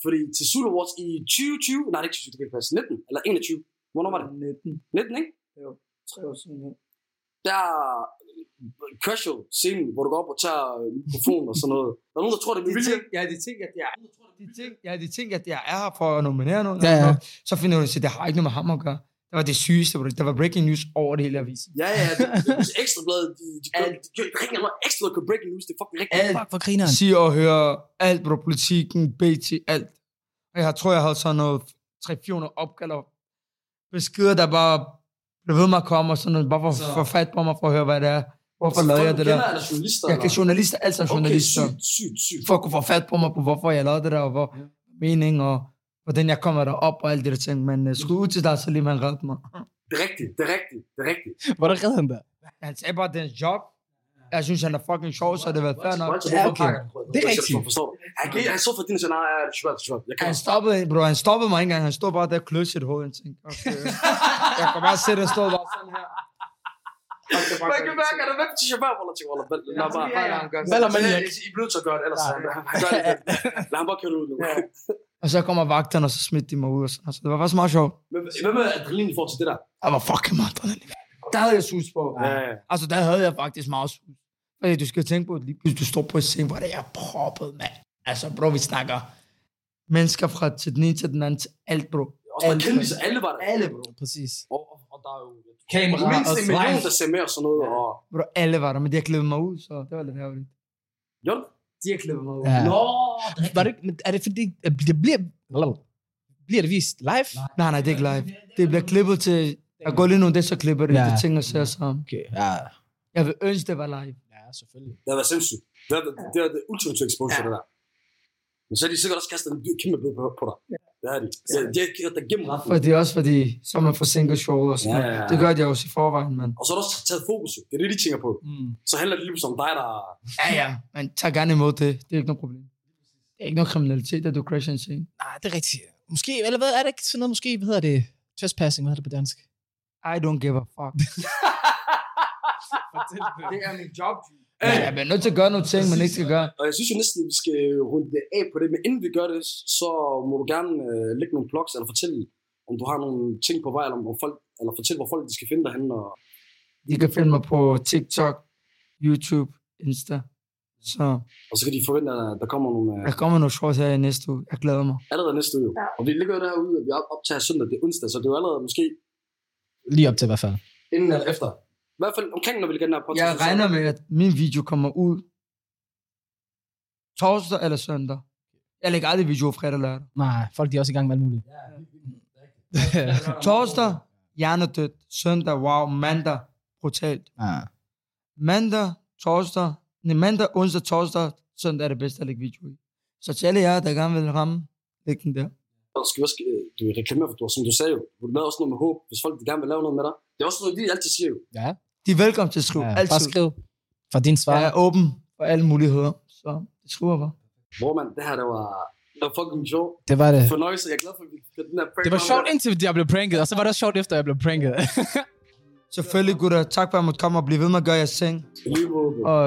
B: Fordi til Zulu Awards i 2020, nej det er ikke 2020, det kan ikke passe, 19 eller 21, hvornår var det?
C: 19,
B: 19, ikke?
C: 3 år siden. ja.
B: Der er casual scenen, hvor du går op og tager øh, mikrofonen og sådan noget. Der er nogen, der tror, det er med
C: De
B: vilje.
C: tænker, ja, de tænker, at jeg er de tænker, ja, de tænker, at jeg er her for at nominere nogen.
A: Ja, ja.
C: Så finder hun ud af, at det har ikke noget med ham at gøre. Det var det sygeste, bro. der var breaking news over det hele avisen.
B: Ja, ja, det, det er ekstra blad, de, de, gør, de gør rigtig meget ekstra blad, kan breaking news, det er fucking rigtigt.
C: Alt,
A: Fuck, hvor griner han.
C: siger og hører alt, bro, politikken, BT, alt. Og jeg tror, jeg havde sådan noget 300-400 opkald og beskeder, der bare blev ved med at komme og sådan noget, bare for,
B: Så-
C: for fat på mig for at høre, hvad det er. Hvorfor
B: Så
C: lavede
B: folk,
C: jeg
B: du
C: det der?
B: kender, er der journalister?
C: Jeg kan
B: eller?
C: journalister, altså journalister.
B: Okay, sygt, sygt, sygt.
C: for at kunne få fat på mig på, hvorfor jeg lavede det der, og hvor ja. mening, og hvordan jeg kommer derop, og alt det der ting. Men uh, skulle ud til dig, så lige man redde mig.
B: Det er rigtigt, det er rigtigt, det er rigtigt.
A: Hvordan redder han der?
C: Han sagde bare, det er en job. Jeg synes, han er fucking sjov, så det var fair nok.
B: Bolsje,
A: Ja,
B: hvorfor
A: okay.
B: pakker han?
A: Det er rigtigt.
B: Jeg forstår du. Han gik, han så for dine scenarier, ja, det er svært, det er svært. Jeg kan
C: Han stoppede, bro, han stoppede mig ikke engang. Han stod bare der og kløede sit hoved. Jeg tænkte, okay. jeg kan bare se, det stod bare sådan her.
B: Man kan mærke, at der er hvem til chauffør, hvor der tænker, "Wallah, lad- lad bare.
A: Hvad lader man
B: Ja,
A: ikke?
B: I- I er nødt til at gøre det, ellers han, han gør det. Lad ham bare køre det ud nu.
C: Og så kommer vagterne, og så smidt de mig ud. Og sådan. Så det var faktisk meget sjovt.
B: Men hvad med adrenalin i forhold til det der?
C: Jeg var fucking meget adrenalin. Der havde jeg sus på.
B: Ja, ja.
C: Altså, der havde jeg faktisk meget sus. Fordi du skal tænke på, at lige pludselig du står på et scene, hvor det er proppet, mand. Altså, bro, vi snakker mennesker fra til den ene til den anden til alt, bro.
B: Også bare
C: Alle.
B: kendte alle var der.
C: Alle, bro.
A: Præcis.
B: Og, og- og der er jo
A: Kamera
B: mindst
A: og
B: en
A: slides.
B: million, der ser med og sådan noget. Og...
C: Bro, alle var der, men de har klippet mig ud, så det var lidt ærgerligt.
B: Jo,
C: De har klippet mig ud.
A: Ja.
B: Nå,
A: Var det, ikke- men er det fordi, at det bliver, bliver det vist live?
C: Nej, nej, det er ikke live. Det bliver klippet til... Jeg går lige nu, det er så klipper det.
A: Ja.
C: Ja. Det ting, jeg ser sammen.
A: Okay, ja.
C: Jeg vil ønske, det var live.
A: Ja, selvfølgelig.
B: det har været sindssygt. Det er det, det, er det ultimative exposure, det der. Men så har de sikkert også kastet en dyr kæmpe blod på, på dig. Det har de. Så de har givet dig gennem retten.
C: Fordi også fordi, så er man forsinker showet og sådan
B: Ja, ja, ja.
C: noget. Det gør de også i forvejen, men...
B: Og så har du også taget fokus. jo. Det er det, de tænker på.
A: Mm.
B: Så handler det lige om dig, der...
C: Ja, ja, men tag gerne imod det. Det er ikke noget problem. Det er ikke noget kriminalitet, at du crasher en scene.
A: Nej, det er rigtigt. Måske, eller hvad, er det ikke sådan noget, måske, hvad hedder det? Trespassing, hvad hedder det på dansk?
C: I don't give a fuck. det er min job. Ja, jeg bliver nødt til at gøre nogle ting, man ikke skal gøre.
B: Og jeg synes jo næsten, vi skal runde det af på det, men inden vi gør det, så må du gerne øh, lægge nogle blogs, eller fortælle, om du har nogle ting på vej, eller, om hvor folk, eller fortælle, hvor folk de skal finde dig henne. Og...
C: De kan finde mig på TikTok, YouTube, Insta. Så
B: og, så kan de forvente, at der kommer nogle... Øh,
C: der kommer nogle shorts her i næste uge. Jeg glæder mig.
B: allerede næste uge. Ja. Og vi ligger jo derude, at vi op- optager søndag, det er onsdag, så det er jo allerede måske
A: Lige op til i hvert fald.
B: inden eller efter. I hvert fald omkring, når vi ligger den her podcast.
C: Jeg regner med, at min video kommer ud torsdag eller søndag. Jeg lægger aldrig video fredag eller lørdag.
A: Nej, folk de er også i gang med alt muligt.
C: Torsdag, hjernedødt. Søndag, wow. Mandag, brutalt.
A: Ja.
C: mandag, torsdag, nej, mandag, onsdag, torsdag, søndag er det bedste at lægge video i. Så til alle jer, der gerne vil ramme, læg den der.
B: Og skal vi også, øh, du reklamerer for, du, har- som du sagde jo, du lavede også noget med håb, hvis folk de gerne vil lave noget med dig. Det er også noget, vi altid siger jo.
A: ja.
C: De er velkommen til at skrive,
A: ja.
C: ja,
A: Bare
C: altid.
A: skriv for din svar.
C: Jeg er åben for alle muligheder, så det skriver bare.
B: Bror mand, det her, det var, det var fucking sjovt.
A: Det var det.
B: Fornøjelse, jeg er glad for, at vi fik den her prank
A: Det var
B: om
A: sjovt, indtil jeg blev pranket, og så var det også sjovt, efter jeg blev pranket.
C: Selvfølgelig, gutter, tak for at jeg måtte komme og blive ved med at gøre jeres ting.
B: I lige måde, bro.
C: Og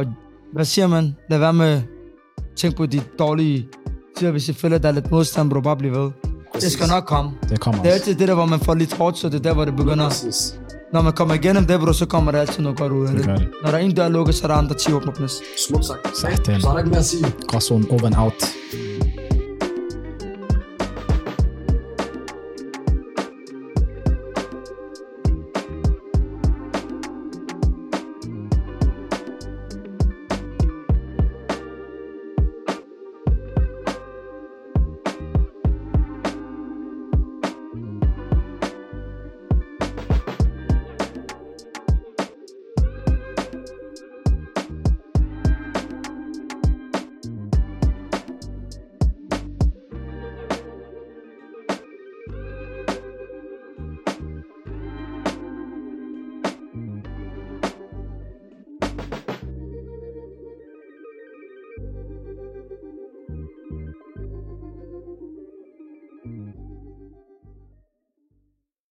C: hvad siger man? Lad være med tænk på de dårlige tider, hvis I føler, der er lidt modstand, bro, bare bliv ved. Det skal nok komme.
A: det kommer
C: Det er altid det der, hvor man får lidt hårdt, så det er der, hvor det begynder.
B: Præcis.
C: Når man kommer igennem det, bro, så kommer der altid noget godt ud af det.
A: gør det.
C: Når der er en dør lukket, så er der andre 10 åbner på næste.
B: Smukt sagt.
A: Sådan.
B: Så er der ikke mere at sige.
A: Gråzonen over and out.